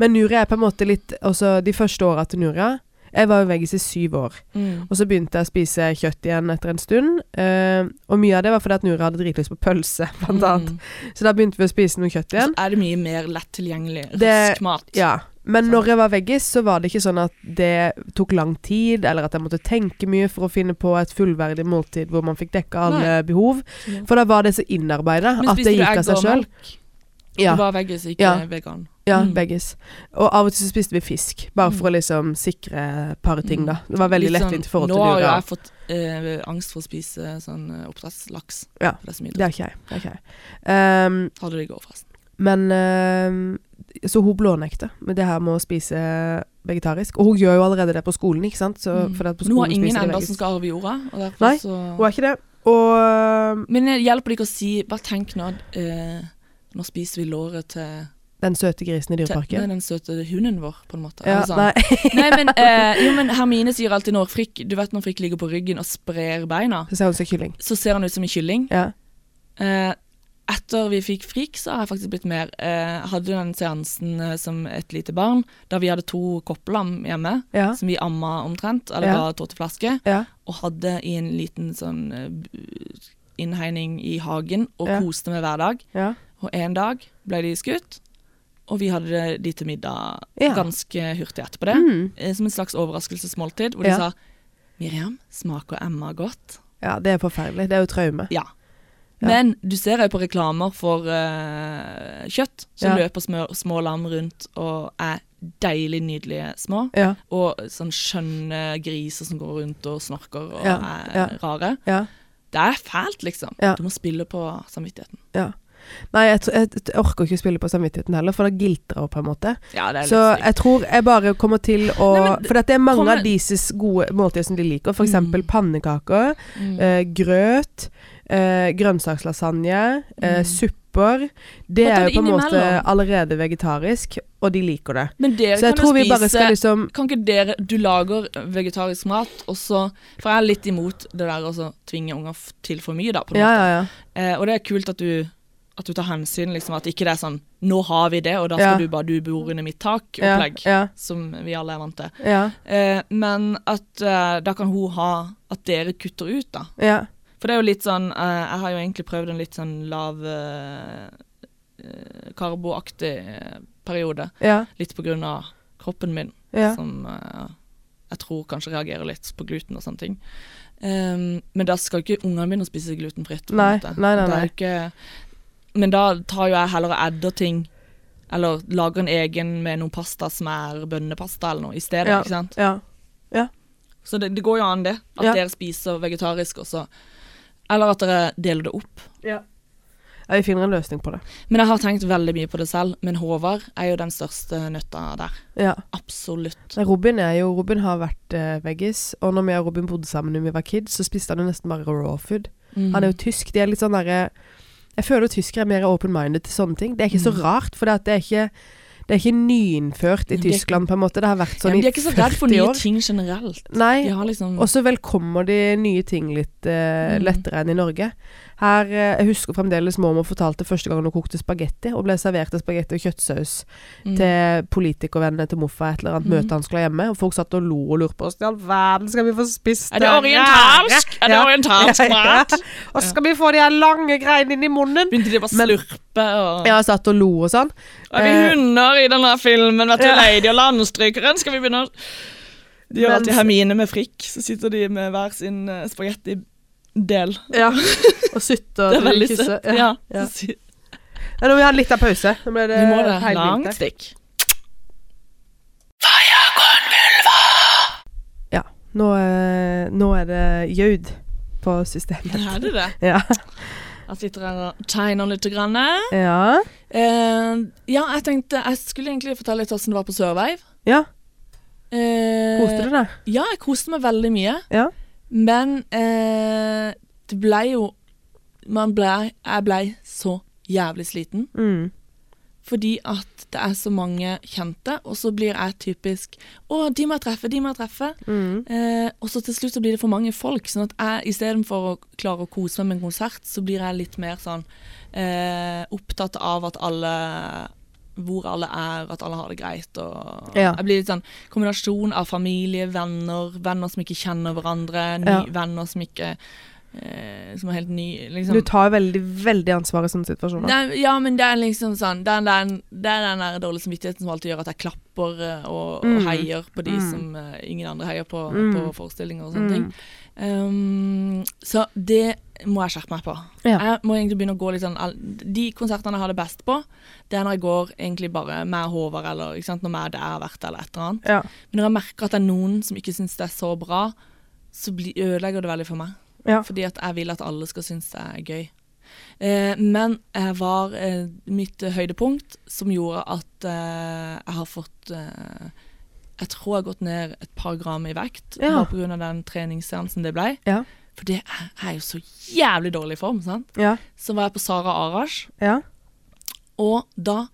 A: Men Nuria er på en måte litt Altså, de første åra til Nuria Jeg var jo veggis i syv år.
B: Mm.
A: Og så begynte jeg å spise kjøtt igjen etter en stund. eh, og mye av det var fordi at Nuria hadde dritlyst på pølse, blant annet.
B: Mm.
A: Så da begynte vi å spise noe kjøtt
B: Og
A: igjen.
B: så er det mye mer lett tilgjengelig
A: Det-
B: rask mat.
A: Ja.
B: Sånn.
A: Men når jeg var veggis, så var det ikke sånn at det tok lang tid, eller at jeg måtte tenke mye for å finne på et fullverdig måltid hvor man fikk dekka alle behov.
B: Ja.
A: For da var det så innarbeida
B: Men
A: at det
B: spiste du
A: gikk
B: egg
A: av seg
B: og
A: sjøl.
B: melk?
A: Ja,
B: Du var veggis, ikke
A: Ja.
B: vegan.
A: ja,
B: Mm.
A: veggis. Og av og til så spiste vi fisk, bare for å liksom sikre et par ting, da. Det var veldig
B: Litt sånn-
A: lettvint i forhold til
B: Nå har jo
A: dyra.
B: jeg fått eh, angst for å spise sånn eh, oppdrettslaks.
A: Ja.
B: For det er så mye
A: Det
B: dritt.
A: er ikke jeg. Det er ikke jeg. Ehm,
B: Hadde det i går, forresten.
A: men ehm, Så hun blånekter med det her med å spise vegetarisk. Og hun gjør jo allerede det på skolen, ikke sant? Så,
B: Mm.
A: fordi at på
B: Nå har
A: skolen
B: ingen
A: spiser de
B: enda
A: veggis.
B: som skal arve jorda. Og derfor
A: Nei.
B: Så...
A: Hun er ikke det. Og
B: Men eh, hjelper det ikke å si Bare tenk nå eh, Nå spiser vi låret til,
A: den søte grisen i
B: til nei,
A: dyreparken.
B: den søte hunden vår, på en måte.
A: Ja,
B: Eller sånn.
A: nei.
B: Nei, men, eh, jo, men Hermine sier alltid når Frikk Du vet når Frikk ligger på ryggen og sprer beina,
A: Så ser hun seg kylling.
B: så ser han ut som en kylling.
A: Ja.
B: Eh, etter vi fikk frik, så har jeg faktisk blitt mer eh, Jeg hadde jo den seansen eh, som et lite barn, da vi hadde to koppelam hjemme,
A: Ja.
B: som vi amma omtrent, eller
A: Ja.
B: ga tå til flaske,
A: Ja.
B: og hadde i en liten sånn eh, bu- innhegning i hagen, og
A: Ja.
B: koste med hver dag.
A: ja.
B: Og en dag ble de skutt, og vi hadde de til middag
A: Ja.
B: ganske hurtig etterpå det.
A: Mm.
B: eh, Som en slags overraskelsesmåltid, hvor
A: Ja.
B: de sa Miriam, smaker Emma godt?
A: ja, det er forferdelig. Det er jo traume.
B: Ja.
A: Ja.
B: Men du ser jo på reklamer for eh, kjøtt, som
A: Ja.
B: løper små, små lam rundt og er deilig nydelige små.
A: Ja.
B: Og sånn skjønne griser som går rundt og snorker og
A: Ja,
B: er
A: ja.
B: rare.
A: ja.
B: Det er fælt, liksom.
A: Ja.
B: Du må spille på samvittigheten.
A: Ja. Nei, jeg, tr- jeg, t- orker ikke å spille på samvittigheten heller, for det gilter jo på en måte.
B: Ja, det er litt
A: Så
B: stygt.
A: jeg tror jeg bare kommer til å
B: Nei, men d-
A: For at det er mange
B: kommer-
A: av deres gode måltider som de liker. F.eks. eksempel
B: Mm.
A: pannekaker,
B: Mm.
A: eh, grøt, eh, grønnsakslasagne, eh,
B: Mm.
A: supper. Det
B: Og ta
A: er
B: det
A: jo på en måte
B: innimellom.
A: allerede vegetarisk, og de liker det.
B: Men dere
A: Så jeg
B: kan jo
A: tror vi bare
B: spise
A: skal liksom
B: Kan ikke dere Du lager vegetarisk mat, og så For jeg er litt imot det der å så tvinge unger f- til for mye, da. På en
A: Ja,
B: måte.
A: ja, ja.
B: Eh, og det er kult at du, at du tar hensyn, liksom. At ikke det er sånn Nå har vi det, og da skal
A: Ja.
B: du bare Du bor under mitt
A: Ja,
B: tak-opplegg.
A: ja,
B: Som vi alle er vant til.
A: ja,
B: Eh, men at eh, da kan hun ha At dere kutter ut, da.
A: ja.
B: For det er jo litt sånn eh, Jeg har jo egentlig prøvd en litt sånn lav eh, eh, karboaktig eh, periode.
A: ja,
B: Litt på grunn av kroppen min
A: ja.
B: som eh, jeg tror kanskje reagerer litt på gluten og sånne ting. Ehm, men da skal jo ikke ungene mine spise glutenfritt. på en
A: Nei,
B: måte.
A: nei, nei,
B: Det er
A: nei.
B: jo ikke, men da tar jo jeg heller og edder ting, eller lager en egen med noen pasta som er bønnepasta eller noe i stedet.
A: Ja.
B: ikke sant?
A: ja.
B: Så det, det går jo an, det. At
A: Ja.
B: dere spiser vegetarisk også. Eller at dere deler det opp.
A: Ja, Vi finner en løsning på det.
B: Men jeg har tenkt veldig mye på det selv, men Håvard er jo den største nøtta der.
A: Ja.
B: Absolutt.
A: Nei, Robin, er jo, Robin har vært eh, veggis, og når vi og Robin bodde sammen da vi var kids, så spiste han jo nesten bare raw food. Han
B: Mm.
A: er jo tysk. De er litt sånn derre Jeg føler jo tyskere er mer open-minded til sånne ting. Det er ikke så
B: Mm.
A: rart, for det, at det er ikke det er ikke nyinnført i
B: Men de er-
A: Tyskland, på en måte. Det har vært
B: ja,
A: sånn
B: men De er ikke så redd for
A: 40
B: nye
A: år.
B: ting generelt. De
A: Nei.
B: har liksom
A: Og så velkommer de nye ting litt eh,
B: Mm.
A: lettere enn i Norge. Her, eh, Jeg husker fremdeles mormor fortalte første gang hun kokte spagetti, og ble servert av spagetti og kjøttsaus.
B: Mm.
A: til politikervennene til morfar et eller annet
B: Mhm.
A: møte han skulle ha hjemme, og folk satt og lo og lurte på oss. I all verden skal vi få spist
B: Er det orientalsk? Er det
A: Ja.
B: orientalsk
A: Ja, ja.
B: mat?
A: Og skal vi få de her lange greiene inn i munnen?
B: Begynte de bare å
A: Men-
B: slurpe og
A: Ja, satt og lo og sånn.
B: Er vi
A: eh,
B: hunder i denne filmen? Vet du,
A: ja.
B: Lady og Landstrykeren? Skal vi begynne å De gjør
A: Men-
B: alltid Hermine med frikk, så sitter de med hver sin eh, spagettidel.
A: Ja. Og sutte
B: Det er
A: og
B: veldig
A: kysse.
B: søtt. Ja.
A: ja.
B: Så si-
A: Ja, nå må vi ha en liten pause. Nå ble det
B: Vi må det.
A: heilvinter.
B: Langt stikk.
A: Ja. Nå, eh, nå er det ljud på systemet.
B: Er det det?
A: Ja.
B: Jeg sitter her og tegner litt. Grann.
A: Ja.
B: Eh, ja, jeg tenkte Jeg skulle egentlig fortelle litt hvordan det var på Sørveiv.
A: ja.
B: Eh,
A: Koste du deg?
B: Ja, jeg koste meg veldig mye.
A: Ja.
B: Men eh, det ble jo man ble, Jeg ble så jævlig sliten.
A: Mm.
B: Fordi at det er så mange kjente, og så blir jeg typisk Å, de må jeg treffe, de må jeg treffe.
A: Mm.
B: Eh, og så til slutt så blir det for mange folk. Sånn at jeg istedenfor å klare å kose meg med en konsert, så blir jeg litt mer sånn eh, opptatt av at alle hvor alle er, at alle har det greit. Og
A: Ja.
B: Jeg blir litt sånn kombinasjon av familie, venner, venner som ikke kjenner hverandre, ny,
A: Ja.
B: venner som ikke eh, Som er helt nye,
A: Du
B: liksom.
A: tar veldig, veldig ansvar i sånne situasjoner.
B: Nei, ja, men det er liksom sånn Det er den, det er den der dårlige samvittigheten som alltid gjør at jeg klapper eh, og, og
A: Mm.
B: heier på de
A: Mm.
B: som eh, ingen andre heier på,
A: Mm.
B: på forestillinger og sånne sånn ting.
A: Mm.
B: Um, så det må jeg skjerpe meg på.
A: Ja.
B: Jeg må egentlig begynne å gå litt sånn all- De konsertene jeg har det best på, det er når jeg går egentlig bare med Håvard eller ikke sant, når jeg er der vært eller et eller annet.
A: Ja.
B: Men når jeg merker at det er noen som ikke syns det er så bra, så bli, ødelegger det veldig for meg.
A: Ja.
B: Fordi at jeg vil at alle skal synes det er gøy. Eh, men jeg var eh, mitt høydepunkt som gjorde at eh, jeg har fått eh, Jeg tror jeg har gått ned et par gram i vekt
A: Ja.
B: bare pga. den treningsseansen det ble.
A: Ja.
B: For det er, jeg er jo så jævlig dårlig i form, sant.
A: Ja.
B: Så var jeg på Sara Arash,
A: Ja.
B: og da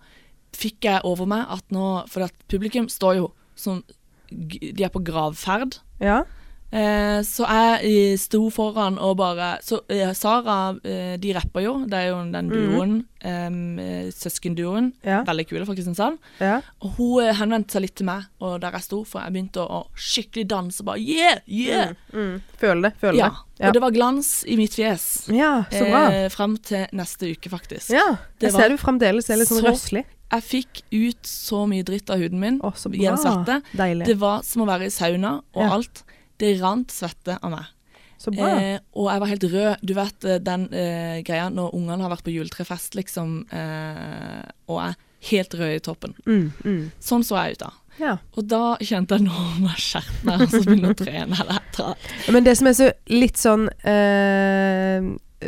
B: fikk jeg over meg at nå For at publikum står jo som g- De er på gravferd.
A: Ja.
B: Eh, Eh, så jeg eh, sto foran og bare Så eh, Sara, eh, de rapper jo. Det er jo den duoen. em, eh, søskenduoen.
A: Mhm. Ja.
B: Veldig kule fra Kristiansand.
A: Ja.
B: Og hun eh, henvendte seg litt til meg, og der jeg sto, for jeg begynte å, å skikkelig danse. Bare yeah, yeah!
A: Mm. Føler det. Føler
B: Ja.
A: det.
B: Og det var glans i mitt fjes.
A: Ja, så bra.
B: Eh, frem til neste uke, faktisk.
A: Ja.
B: det
A: Jeg
B: var
A: ser du fremdeles er litt sånn
B: så
A: røslig.
B: Jeg fikk ut så mye dritt av huden min
A: Å, så bra.
B: gjennom svette.
A: Deilig.
B: Det var som å være i sauna og
A: Ja.
B: alt. Det rant svette av meg.
A: så bra.
B: Eh, og jeg var helt rød. Du vet eh, den eh, greia når ungene har vært på juletrefest, liksom, eh, og er helt rød i toppen.
A: Mm, mm.
B: Sånn så jeg ut da.
A: Ja.
B: Og da kjente jeg nå må jeg skjerpe meg og så begynne å trene. Det er tra-
A: Men det som er så litt sånn eh,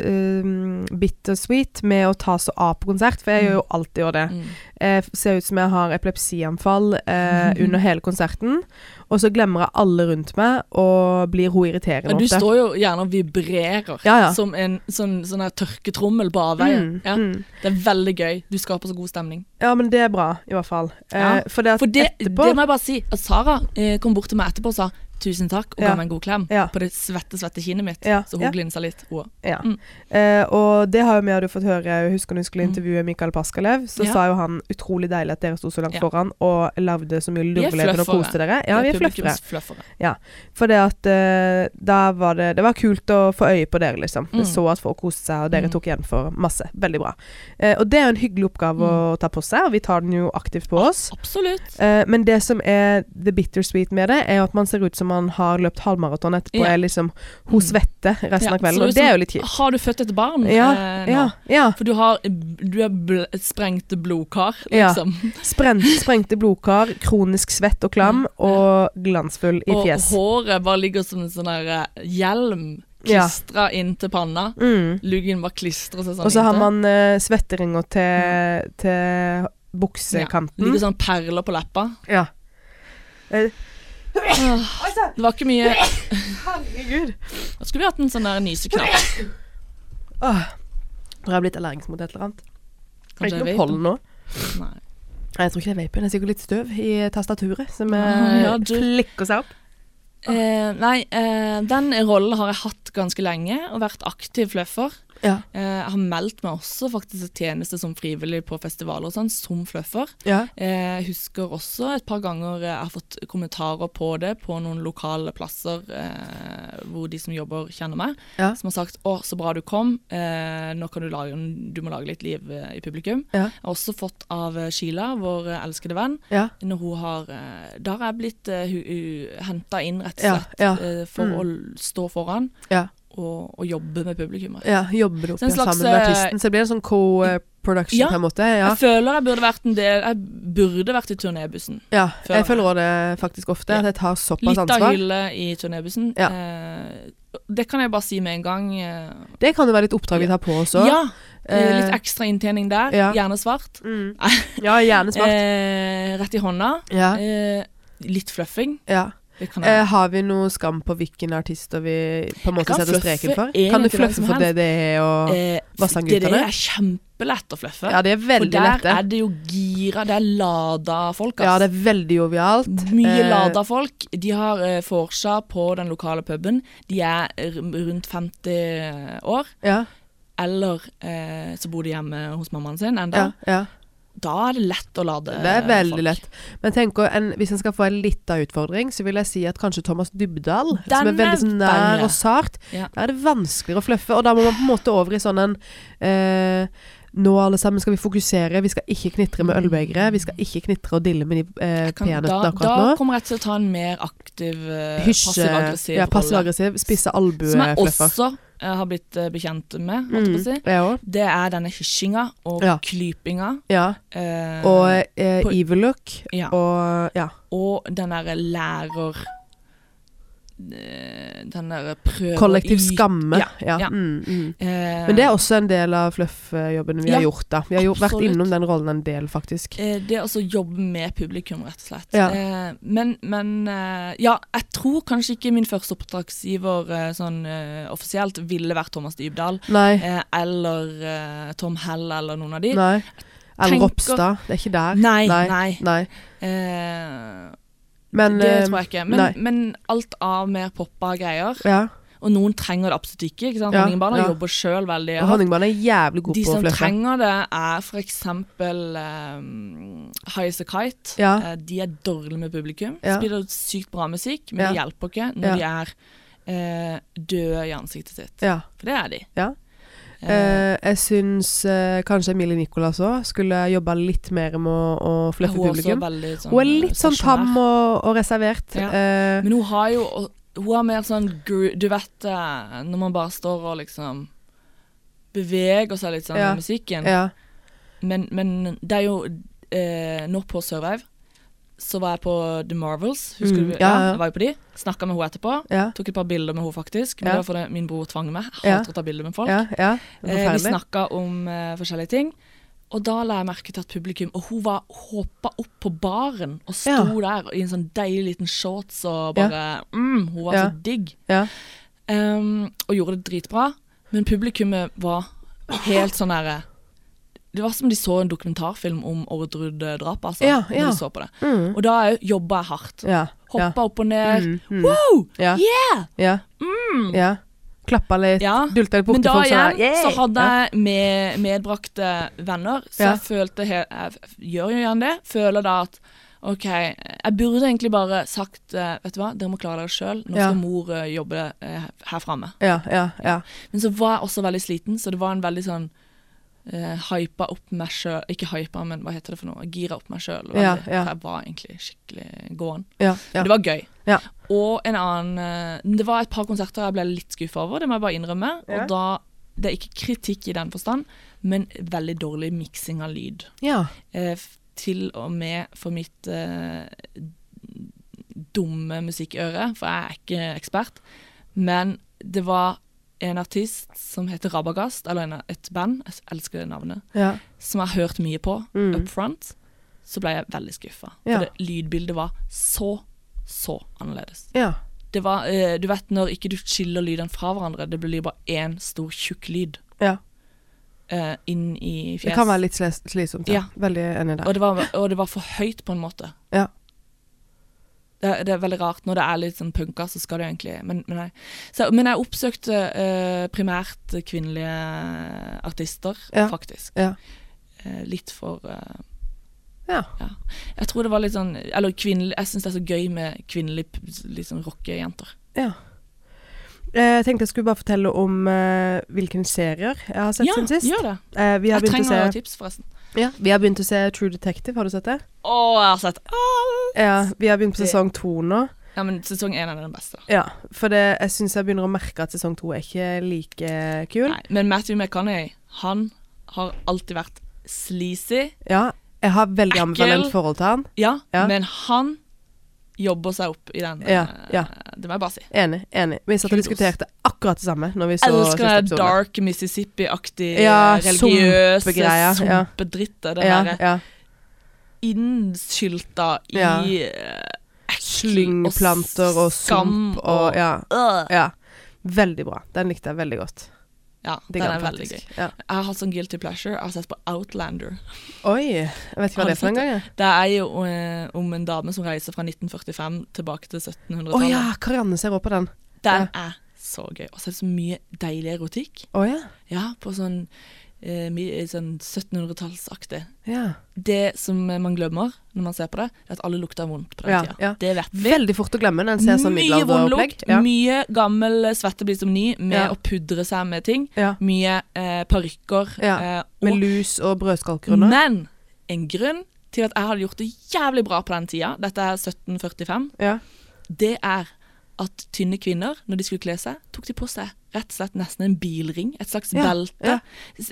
A: eh, bittersweet med å ta så av på konsert, for jeg gjør jo alltid gjør det.
B: Mm.
A: Eh, ser ut som jeg har epilepsianfall eh, under hele konserten. Og så glemmer jeg alle rundt meg og blir hun irriterende
B: Men du
A: ofte.
B: står jo gjerne og vibrerer
A: Ja, ja.
B: som en sånn, sånn her tørketrommel på avveien.
A: Mm,
B: Ja.
A: mm.
B: Det er veldig gøy. Du skaper så god stemning.
A: Ja, men det er bra, i hvert fall.
B: Ja,
A: for det at
B: For det, det
A: etterpå
B: må jeg bare si, at Sara eh, kom bort til meg etterpå og sa tusen takk, og
A: Ja.
B: ga meg en god klem
A: Ja.
B: på det svette, svette kinnet mitt.
A: Ja,
B: Så hun
A: ja.
B: glinsa litt. hun.
A: ja.
B: Mm.
A: eh, Og det har jo vi hadde fått høre. Jeg husker når vi skulle intervjue Mikael Paskalev, så
B: Ja.
A: sa jo han utrolig deilig at dere sto så langt
B: Ja.
A: foran og lagde så mye
B: Vi er
A: lurveleker og
B: fluffere.
A: koste dere. Ja, vi er fluffere.
B: publikumsfluffere.
A: For det at eh, da var det Det var kult å få øye på dere, liksom.
B: Mm.
A: Jeg så at folk koste seg, og dere
B: Mm.
A: tok igjen for masse. Veldig bra. Eh, og det er jo en hyggelig oppgave å ta på seg, og vi tar den jo aktivt på oss.
B: Mm. Ah, Absolutt.
A: Eh, men det som er the bittersweet med det, er jo at man ser ut som man har løpt halvmaraton etterpå,
B: Ja.
A: er liksom Hun
B: Mm.
A: svetter resten
B: Ja,
A: av kvelden,
B: så
A: og det er jo litt kjipt.
B: Har du født et barn
A: Ja,
B: eh, nå?
A: ja, ja.
B: For du har du er bl sprengte blodkar,
A: Ja.
B: liksom.
A: Spren sprengte blodkar, kronisk svett og klam, og glansfull i
B: Mm, Og
A: fjes.
B: håret bare ligger som en sånn der eh, hjelm
A: Ja.
B: klistra inntil panna.
A: Mm.
B: Luggen bare klistrer seg sånn
A: Og så har
B: inntil.
A: man eh, svetteringer til,
B: Mm.
A: til buksekanten.
B: Ligger sånn perler på leppa.
A: Ja. Ah.
B: Åh, Ah, Det var ikke mye
A: Herregud.
B: Da skulle vi hatt en sånn der nyseknapp.
A: Åh. Tror jeg har blitt allergisk mot et eller annet. Er det
B: Kanskje
A: ikke noe
B: vape?
A: pollen nå?
B: Nei.
A: Nei, Jeg tror ikke det er vapen. Det er sikkert litt støv i tastaturet som
B: Ah,
A: eh,
B: ja, du-
A: flikker seg opp.
B: Eh, nei, eh, den rollen har jeg hatt ganske lenge, og vært aktiv fluffer.
A: Ja.
B: Eh, jeg har meldt meg også faktisk til tjeneste som frivillig på festivaler og sånn, som fluffer.
A: Ja.
B: Eh, Jeg husker også et par ganger eh, jeg har fått kommentarer på det på noen lokale plasser eh, hvor de som jobber, kjenner meg,
A: Ja.
B: som har sagt 'Å, så bra du kom. Eh, nå kan du lage, en- du må lage litt liv eh, i publikum'.
A: Ja.
B: Jeg har også fått av eh, Sheila, vår eh, elskede venn,
A: Ja.
B: når hun har eh, Da har jeg blitt uh, henta inn, rett og
A: Ja,
B: slett,
A: ja.
B: eh, for å l- stå foran
A: Ja.
B: og, og jobbe med publikummet.
A: ja. Jobber du opp
B: Så en
A: igjen
B: slags, eh,
A: sammen med artisten? Så det blir en sånn co-production
B: Ja.
A: på en måte? Ja.
B: Jeg føler jeg burde vært en del Jeg burde vært i turnébussen.
A: ja.
B: føler
A: Jeg føler også det faktisk ofte,
B: Ja.
A: at jeg tar såpass
B: Litt av
A: ansvar.
B: hylle i turnébussen.
A: Ja.
B: Eh, det kan jeg bare si med en gang. eh.
A: Det kan jo være litt oppdrag vi tar på oss òg.
B: ja, eh,
A: eh,
B: litt ekstra inntjening der.
A: ja.
B: Gjerne svart.
A: Mm. ja, gjerne smart.
B: Eh, rett i hånda.
A: Ja.
B: Eh, litt fluffing.
A: ja.
B: Det kan
A: Eh,
B: jeg.
A: har vi noe skam på hvilken artister vi på en måte
B: kan
A: setter
B: fluffe
A: streken for?
B: egentlig
A: Kan du
B: hvem
A: fluffe
B: som
A: for det det er, og
B: Eh, det,
A: Vassandgutane?
B: det er kjempelett å fluffe.
A: Ja, det er
B: For
A: veldig
B: der
A: lette.
B: er det jo gira, det er lada folk.
A: Ja,
B: ass.
A: det er veldig jovialt.
B: Mye
A: Eh,
B: lada folk. De har eh, vorsa på den lokale puben. De er r- rundt 50 år,
A: Ja,
B: eller eh, så bor de hjemme hos mammaen sin enda.
A: ja, ja.
B: Da er det lett å lade
A: Det er veldig
B: eh, folk.
A: lett. Men tenk, å- en, hvis en skal få en lita utfordring, så vil jeg si at kanskje Thomas Dybdahl, som
B: Den
A: er veldig
B: er
A: sånn nær
B: verre.
A: og sart,
B: Ja.
A: der er det vanskeligere å fluffe. Og da må man på en måte over i sånn en eh, Nå, alle sammen, skal vi fokusere. Vi skal ikke knitre med ølbegeret. Vi skal ikke knitre og dille med de eh,
B: Kan, da,
A: peanøttene
B: da
A: akkurat nå.
B: kommer jeg til å ta en mer aktiv, eh,
A: Hysje.
B: passiv-aggressiv
A: Ja,
B: rolle.
A: passiv-aggressiv. Spisse
B: Som jeg
A: albuefluffer.
B: også eh, har blitt eh, bekjent med, holdt jeg på å
A: Mm,
B: si.
A: jeg òg.
B: Det er denne hysjinga og
A: Ja.
B: klypinga.
A: Ja.
B: eh,
A: Og eh,
B: på-
A: evil look.
B: ja.
A: Og ja.
B: og den derre lærer eh, Den derre prøver
A: Kollektiv
B: å yte-
A: skamme.
B: Ja,
A: Ja.
B: ja.
A: Mm, mm.
B: Eh,
A: Men det er også en del av fluff-jobben vi
B: Ja,
A: har gjort, da. Vi har jo vært
B: absolutt.
A: innom den rollen en del, faktisk.
B: eh, det er også å jobbe med publikum, rett og slett.
A: Ja.
B: Eh, men men eh, ja, jeg tror kanskje ikke min første oppdragsgiver eh, sånn eh, offisielt ville vært Thomas Dybdahl.
A: Nei.
B: Eh, eller eh, Tom Hell, eller noen av de.
A: Nei. Eller
B: tenker-
A: Ropstad. Det er ikke der.
B: Nei,
A: Nei.
B: nei.
A: Nei.
B: Eh,
A: Men
B: det
A: eh,
B: tror jeg ikke.
A: nei.
B: Men, men alt av mer poppa greier.
A: Ja.
B: Og noen trenger det absolutt ikke. ikke sant?
A: Ja,
B: Honningbarna
A: ja.
B: jobber sjøl veldig
A: Og
B: hardt.
A: honningbarn er jævlig god
B: De
A: på å
B: som
A: flørte.
B: trenger det, er f.eks. Um, High As A Kite.
A: Ja.
B: Eh, de er dårlige med publikum.
A: Ja.
B: Spiller sykt bra musikk, men
A: Ja.
B: det hjelper ikke når
A: Ja.
B: de er eh, døde i ansiktet sitt.
A: Ja.
B: For det er de.
A: Ja.
B: Eh,
A: Eh, jeg syns eh, kanskje Emilie Nicolas òg skulle jobba litt mer med å, å
B: hun er
A: flørte
B: også
A: publikum.
B: veldig sånn,
A: Hun er litt sånn
B: stasjonær.
A: tam og, og reservert.
B: Ja.
A: Eh,
B: Men hun har jo Hun har mer sånn gru- Du vet det, når man bare står og liksom beveger seg litt sånn
A: Ja.
B: med musikken.
A: ja.
B: Men, men det er jo eh, Nå på Survive så var jeg på The Marvels. Husker
A: Mm,
B: du?
A: ja,
B: Ja,
A: ja.
B: jeg var jo på de. Snakka med henne etterpå.
A: Ja.
B: Tok et par bilder med henne, faktisk. Men
A: Ja.
B: det var fordi min bror tvang meg. Jeg
A: Ja.
B: hater å ta bilder med folk.
A: Ja, ja. Det er
B: Eh, vi
A: Forferdelig.
B: snakka om eh, forskjellige ting. Og da la jeg merke til at publikum Og hun var hoppa opp på baren og sto
A: Ja.
B: der i en sånn deilig liten shorts og bare mm, Hun var
A: Ja.
B: så digg.
A: ja.
B: Ehm, og gjorde det dritbra. Men publikummet var helt sånn derre Det var som de så en dokumentarfilm om Orderud-drapet, altså.
A: Ja, ja.
B: Når de så på det.
A: Mm.
B: Og da jobba jeg hardt.
A: ja. ja.
B: Hoppa opp og ned.
A: Mm, mm.
B: Wow!
A: Ja.
B: Eh, Yeah!
A: ja.
B: Mm.
A: ja. Klappa litt,
B: Ja,
A: dulta litt
B: Men
A: borti
B: da
A: folk sånn
B: igjen
A: her, «Yeah!»
B: så hadde jeg med, medbrakte venner, så
A: Ja.
B: jeg følte he Jeg f- gjør jo gjerne det. Føler da at OK, jeg burde egentlig bare sagt eh, Vet du hva, dere må klare dere sjøl. Nå
A: Ja.
B: skal mor eh, jobbe eh, her framme.
A: ja. Ja, ja,
B: Men så var jeg også veldig sliten, så det var en veldig sånn uh, hypa opp meg sjøl Ikke hypa, men hva heter det for noe? Gira opp meg sjøl.
A: Ja,
B: veldig.
A: ja.
B: For Jeg var egentlig skikkelig gåen.
A: ja. ja,
B: Men det var gøy.
A: Ja.
B: Og en annen eh, Det var et par konserter jeg ble litt skuffa over, det må jeg bare innrømme.
A: Ja.
B: Og da Det er ikke kritikk i den forstand, men veldig dårlig miksing av lyd.
A: ja.
B: Eh, f- til og med for mitt eh, dumme musikkøre, for jeg er ikke ekspert. Men det var en artist som heter Rabagast, eller en, et band, jeg elsker det navnet,
A: ja.
B: som jeg har hørt mye på
A: Mm.
B: up front. Så ble jeg veldig skuffa.
A: Ja.
B: For det, lydbildet var så, så annerledes.
A: ja.
B: Det var, eh, du vet når ikke du skiller lydene fra hverandre, det blir bare én stor, tjukk lyd
A: ja.
B: eh, inn i fjeset.
A: Det kan være litt sles- slitsomt. Ja.
B: Ja.
A: Veldig enig
B: Og
A: der.
B: det, var, og det var for høyt, på en måte.
A: Ja.
B: Det, det er veldig rart. Når det er litt sånn punker, så skal det jo egentlig Men, men, jeg, så, men jeg oppsøkte eh, primært kvinnelige artister,
A: Ja.
B: faktisk.
A: Ja.
B: Eh, litt for eh,
A: Ja.
B: Jeg tror det var litt sånn Eller kvinnelig Jeg syns det er så gøy med kvinnelige p- litt sånn rockejenter.
A: ja. Eh, Jeg tenkte jeg skulle bare fortelle om eh, hvilke serier jeg har sett
B: Ja,
A: siden sist.
B: gjør det.
A: Eh, vi, har
B: Jeg
A: begynt å
B: trenger
A: se,
B: noen tips, forresten.
A: ja, vi har begynt å se True Detective, har du sett det?
B: Å, jeg har sett alt!
A: Ja, vi har begynt på
B: Det-
A: sesong to nå.
B: Ja, men sesong én er den beste.
A: Ja, for det, jeg syns jeg begynner å merke at sesong to er ikke like kul.
B: Nei, men Matthew McConaughey, han har alltid vært sleazy.
A: Ja, jeg har veldig
B: Ekkel.
A: ambivalent forhold til han.
B: Ja,
A: Ja.
B: men han jobber seg opp i den.
A: Ja,
B: eh,
A: ja.
B: Det må jeg bare si.
A: Enig. enig. Vi satt og
B: Kudos.
A: diskuterte akkurat det samme når vi så siste
B: Elsker det
A: episode.
B: dark Mississippi-aktig,
A: Ja,
B: religiøse
A: sumpegreier, ja.
B: sumpedrittet. Det
A: Ja,
B: derre
A: ja.
B: innskylta i
A: Ja.
B: eh, ekkel og
A: Slyngplanter og
B: skam
A: sump og ja,
B: Øh.
A: ja. Veldig bra. Den likte jeg veldig godt.
B: Ja, den
A: Digger
B: er
A: den
B: veldig gøy.
A: faktisk. Ja.
B: Jeg har hatt sånn guilty pleasure. Jeg har sett på Outlander.
A: Oi. Jeg vet ikke hva
B: Har du
A: det er for
B: sett
A: en gang, jeg.
B: Det er jo eh, om en dame som reiser fra 1945 tilbake til
A: Å
B: 1700-tallet.
A: ja, Karianne ser òg på den.
B: Den er så gøy. Og så er det så mye deilig erotikk.
A: Å ja.
B: Ja, på sånn, eh, mi- sånn 1700-tallsaktig.
A: ja.
B: Det som man glemmer når man ser på det, er at alle lukter vondt på den
A: Ja,
B: tida.
A: ja.
B: Det vet vi.
A: Veldig fort å glemme når en ser sånn
B: mye vond lukt,
A: middelalderopplegg. Ja.
B: mye gammel svette blir som ny med
A: Ja.
B: å pudre seg med ting.
A: Ja.
B: Mye eh, parykker.
A: Ja,
B: eh, og-
A: Med lus og brødskalker under.
B: men en grunn til at jeg hadde gjort det jævlig bra på den tida, dette er 1745,
A: Ja.
B: det er at tynne kvinner, når de skulle kle seg, tok de på seg rett og slett nesten en bilring, et slags
A: Ja,
B: belte.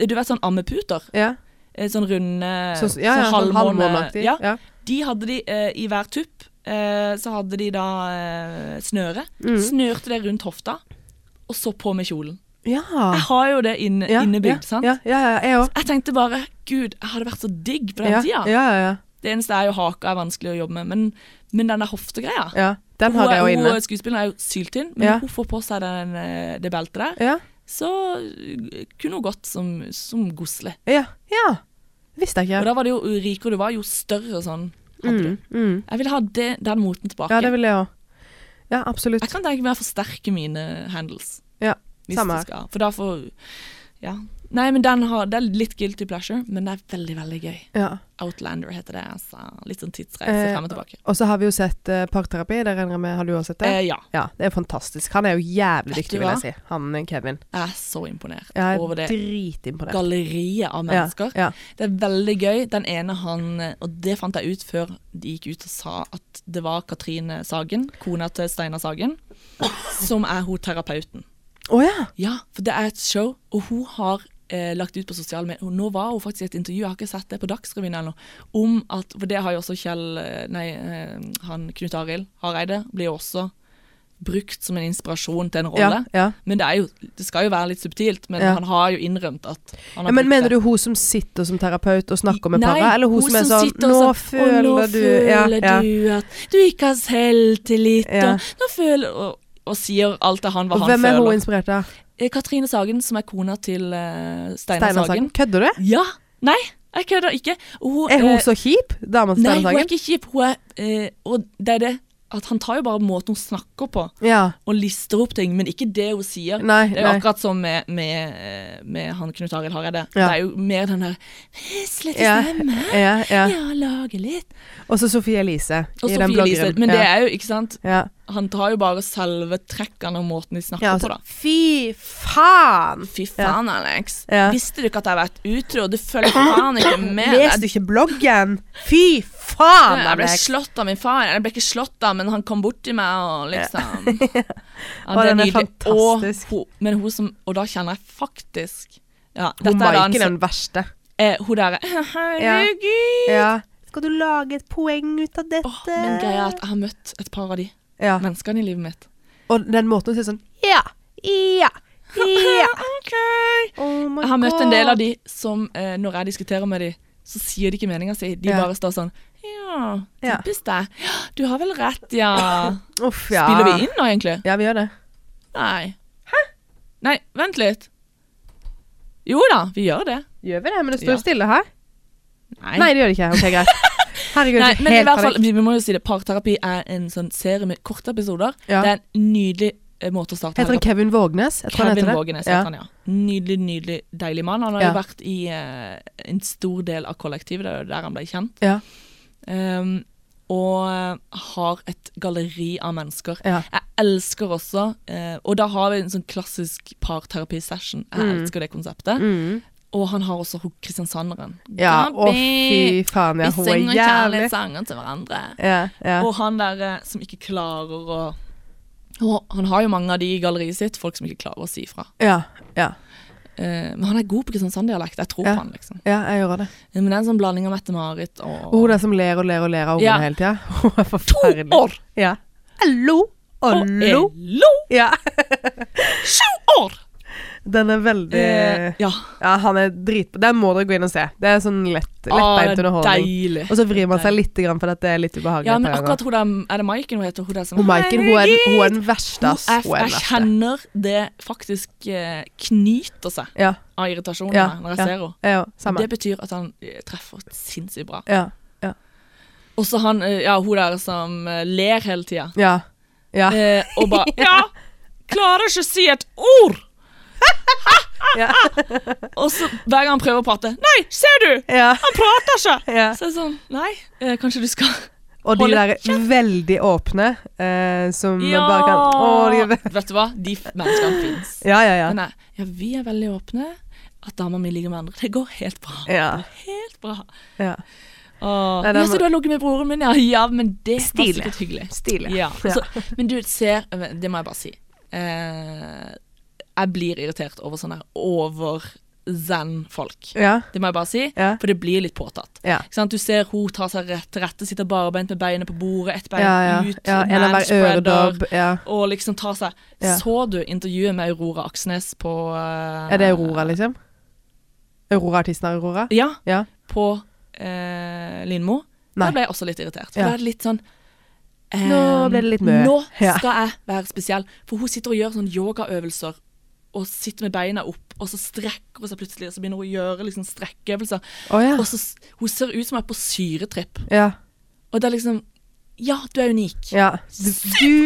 B: Du vet sånn ammeputer?
A: ja.
B: Eh, Sånn runde
A: Så, ja, ja, sånn halvmåneaktig.
B: Ja.
A: Ja.
B: De hadde de eh, i hver tupp. Eh, så hadde de da eh, snøre.
A: Mm.
B: Snørte det rundt hofta, og så på med kjolen.
A: Ja.
B: Jeg har jo det inne,
A: Ah. ja.
B: Eh, innebygd,
A: ja.
B: sant?
A: Ja, ja, ja jeg òg.
B: Jeg tenkte bare Gud, jeg hadde vært så digg på den
A: Ja, ja,
B: tida.
A: ja, ja.
B: Det eneste er jo haka er vanskelig å jobbe med, men, men den der hoftegreia
A: ja. Den har
B: Hun er-
A: jeg òg inne.
B: hun- Skuespilleren er jo syltynn, men
A: Ja.
B: hun får på seg den, eh, det beltet der.
A: Ja.
B: Så eh, kunne hun gått som, som gosle.
A: ja. ja. Visste jeg ikke.
B: Og da var det jo jo rikere du var, jo større sånn hadde
A: Mm,
B: du.
A: mm.
B: Jeg vil ha det, den moten tilbake.
A: Ja, det vil jeg òg. Ja, absolutt.
B: jeg kan tenke meg å forsterke mine handles.
A: Ja,
B: hvis
A: samme
B: det
A: her.
B: Skal. For da får Ja. Nei, men den har Det er litt guilty pleasure, men det er veldig, veldig gøy.
A: Ja.
B: Outlander heter det. altså Litt sånn tidsreise
A: Eh,
B: frem og tilbake.
A: Og så har vi jo sett eh, parterapi, det regner jeg med. Har du òg sett det?
B: Eh, ja.
A: Ja, det er fantastisk. Han er jo jævlig
B: Vet
A: dyktig,
B: du
A: vil
B: hva?
A: jeg si. Han eh, Kevin.
B: Jeg er så imponert
A: Jeg
B: over
A: er
B: det
A: dritimponert.
B: galleriet av
A: Ja,
B: mennesker.
A: ja.
B: Det er veldig gøy. Den ene han Og det fant jeg ut før de gikk ut og sa at det var Katrine Sagen, kona til Steinar Sagen, som er hun terapeuten.
A: Å ja.
B: Ja, for det er et show, og hun har eh, lagt ut på sosiale medier og Nå var hun faktisk i et intervju, jeg har ikke sett det på Dagsrevyen eller noe, om at For det har jo også Kjell eh, Nei, eh, han Knut Arild Hareide blir jo også brukt som en inspirasjon til en rolle.
A: ja, ja.
B: Men det, er jo, det skal jo være litt subtilt, men
A: Ja.
B: han har jo innrømt at han har
A: Ja, men
B: brukt
A: mener
B: det.
A: du hun som sitter som terapeut og snakker med
B: Nei,
A: paret, eller hun, som er sånn
B: sitter og
A: Nå
B: sånn,
A: føler
B: og nå
A: du
B: føler du at du ikke har selvtillit,
A: Ja.
B: og nå føler og, og sier alt det han hva
A: Og
B: han
A: hvem er
B: føler.
A: hun inspirert av?
B: Eh, Katrine Sagen, som er kona til eh, Steinar
A: Steinar
B: Sagen.
A: Sagen. Kødder du?
B: Ja! Nei, jeg kødder ikke. Og hun,
A: Er hun
B: eh,
A: så kjip, dama til
B: Nei,
A: Steinar
B: hun er
A: Sagen?
B: ikke kjip. Hun er, eh, og det er det at han tar jo bare måten hun snakker på,
A: Ja.
B: og lister opp ting, men ikke det hun sier.
A: Nei,
B: Det er jo
A: nei.
B: akkurat som med, med, eh, med han Knut Arild Hareide.
A: Ja.
B: Det er jo mer den der Veslete
A: Ja.
B: stemme.
A: Ja, ja.
B: Ja, lage litt.
A: Og så Sofie Elise
B: Og
A: i den
B: Sophie Elise.
A: bloggeren.
B: Men det
A: ja.
B: er jo, ikke sant
A: Ja.
B: Han tar jo bare selve trekkene og måten de snakker
A: Ja,
B: på,
A: altså,
B: da.
A: fy faen!
B: Fy faen, Alex.
A: Ja.
B: Visste du ikke at jeg har vært utro? Du følger faen ikke med.
A: Leste du ikke bloggen? Fy faen!
B: jeg ble
A: Alex.
B: slått av min far. Jeg ble ikke slått av, men han kom bort til meg og liksom Ja,
A: Å,
B: det er
A: den er
B: nydelig.
A: fantastisk.
B: Og, hun, men hun som Og da kjenner jeg faktisk ja,
A: Hun
B: dette er da
A: var
B: en
A: ikke
B: sånn-
A: den verste.
B: eh, Hun derre Herregud!
A: Ja. Skal du lage et poeng ut av dette?
B: Åh, men greia er at jeg har møtt et par av de
A: ja.
B: menneskene i livet mitt.
A: Og den måten hun sier sånn Ja, ja, ja.
B: Ok.
A: Oh my
B: Jeg har møtt en del av
A: God.
B: de som, eh, når jeg diskuterer med de, så sier de ikke meninga si. De
A: Ja.
B: bare står sånn Ja,
A: Ja.
B: typisk deg. Ja, du har vel rett, ja.
A: Uff, ja.
B: Spiller vi inn nå, egentlig?
A: Ja, vi gjør det.
B: Nei. Hæ? Nei, vent litt. Jo da, vi gjør det.
A: Gjør vi det? Men det
B: Ja.
A: står stille her.
B: Nei.
A: Nei, det gjør det ikke. Ok, greit. Herregud,
B: Nei, men i
A: helt
B: hvert fall,
A: panikk.
B: vi, vi må jo si det. Parterapi er en sånn serie med korte episoder.
A: Ja.
B: Det er en nydelig eh, måte å starte
A: Heter han
B: helga på.
A: Kevin Vågnes? Jeg tror han
B: Kevin
A: heter det.
B: Vågenes
A: Ja.
B: heter han, ja. Nydelig, nydelig deilig mann. Han har
A: Ja.
B: jo vært i eh, en stor del av kollektivet, det er jo der han ble kjent.
A: Ja.
B: Ehm, og eh, har et galleri av mennesker.
A: Ja.
B: Jeg elsker også eh, Og da har vi en sånn klassisk parterapi-session. Jeg elsker det konseptet.
A: Mm.
B: Og han har også hun kristiansanderen.
A: ja. Å, fy
B: Gabi,
A: faen, ja.
B: vi
A: Hun er
B: synger
A: jævlig
B: kjærlighetssanger til hverandre.
A: ja, ja.
B: Og han der eh, som ikke klarer å og Han har jo mange av de i galleriet sitt, folk som ikke klarer å si fra.
A: ja, ja.
B: Eh, men han er god på Kristiansand-dialekt, jeg tror
A: Ja.
B: på han, liksom.
A: Ja, jeg gjør det.
B: Men det er en sånn blanding av Mette-Marit og
A: Og hun der som ler og ler og ler av ungene
B: Ja.
A: hele tida. Hun er
B: To
A: forferdelig.
B: år!
A: Ja. Hallo.
B: Og
A: Hallo.
B: Ello!
A: Ja.
B: Sju år!
A: Den er veldig
B: Eh, ja.
A: Ja, han er dritbra. Den må dere gå inn og se. Det er sånn lett, lettbeint
B: Ah,
A: underholdning.
B: deilig.
A: Og så vrir man seg litt, grann, for dette er litt ubehagelig.
B: Ja, men
A: et par
B: akkurat
A: ganger.
B: hun der Er det Maiken hun heter? Hun der som
A: Hun Maiken, hun er, den- hun er den
B: Hun
A: verste, ass. Hun
B: er-
A: er den
B: Jeg
A: verste.
B: kjenner det faktisk eh, knyter seg
A: Ja,
B: av irritasjon
A: ja,
B: når jeg
A: ja.
B: ser henne.
A: ja, samme.
B: Det betyr at han eh, treffer sinnssykt bra.
A: Ja,
B: Og så han, eh, ja, hun der som eh, ler hele tida.
A: ja, ja.
B: Eh, og bare Ja! Klarer ikke å si et ord!
A: Ja.
B: Og så hver gang han prøver å prate Nei, ser du!
A: ja,
B: Han prater ikke!
A: ja.
B: Så er det sånn Nei, eh, kanskje du skal
A: Og de
B: Hold
A: der veldig åpne eh, som
B: Ja!
A: bare kan Å, de er ve-
B: Vet du hva? De f- menneskene fins.
A: Ja, ja, ja.
B: Men nei, ja, vi er veldig åpne. At dama mi ligger med andre. Det går helt bra.
A: Ja.
B: Helt bra.
A: ja.
B: Åh,
A: Nei, det
B: ja,
A: må-
B: så du har ligget med broren min, ja. Ja, men det
A: Stilig.
B: var sikkert hyggelig.
A: Stilig.
B: Ja.
A: Ja. Altså,
B: Så, men du ser Det må jeg bare si. Eh, jeg blir irritert over sånne her over-zen-folk.
A: Ja,
B: Det må jeg bare si,
A: Ja.
B: for det blir litt påtatt.
A: ja.
B: Ikke sant? Du ser hun tar seg rett til rette, sitter barbeint med beinet på bordet, ett bein
A: Ja, ja.
B: ut,
A: ja en av hver
B: manspreader
A: øredobb. Ja.
B: og liksom ta seg
A: Ja.
B: Så du intervjuet med Aurora Aksnes på eh,
A: Er det Aurora, liksom? Aurora, artisten av Aurora?
B: Ja,
A: Ja.
B: på eh, Lindmo.
A: Nei.
B: Da ble jeg også litt irritert. For
A: Ja.
B: da er det litt sånn eh,
A: Nå ble det litt mye.
B: Nå
A: Ja.
B: skal jeg være spesiell. For hun sitter og gjør sånne yogaøvelser og sitter med beina opp, og så strekker hun seg plutselig, og så begynner hun å gjøre liksom strekkeøvelser.
A: Å ja.
B: Og så s- Hun ser ut som hun er på syretripp.
A: ja.
B: Og det er liksom Ja, du er unik.
A: Ja. Du, du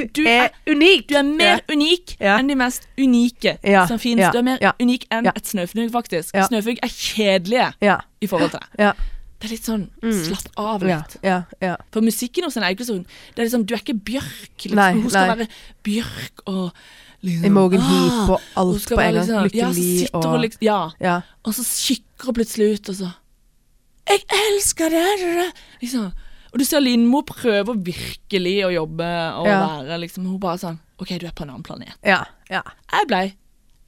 B: du
A: er
B: er-
A: unik!
B: Du er mer unik
A: Ja.
B: enn de mest unike
A: Ja.
B: som finnes.
A: Ja.
B: Du er mer
A: Ja.
B: unik enn
A: Ja.
B: et snøfnugg, faktisk.
A: Ja.
B: Snøfnugg er kjedelige
A: Ja.
B: i forhold til det.
A: Ja.
B: Det er litt sånn
A: Mm.
B: slapp av
A: Ja.
B: litt.
A: ja, ja.
B: For musikken hos henne er jo ikke sånn Det er liksom, Du er ikke Bjørk. Liksom.
A: Nei,
B: Hun skal
A: nei.
B: være Bjørk og liksom,
A: Emogen
B: ah,
A: Heap og
B: hun
A: alt
B: skal
A: på
B: være
A: en gang.
B: liksom- ja, så
A: Lykkelig
B: sitter
A: og
B: hun liksom, Ja.
A: Ja.
B: Og så kikker hun plutselig ut, og så Jeg elsker det! Liksom. Og du ser Lindmo prøve virkelig å jobbe og
A: Ja.
B: være liksom Hun bare sånn OK, du er på en annen planet.
A: Ja. ja.
B: Jeg blei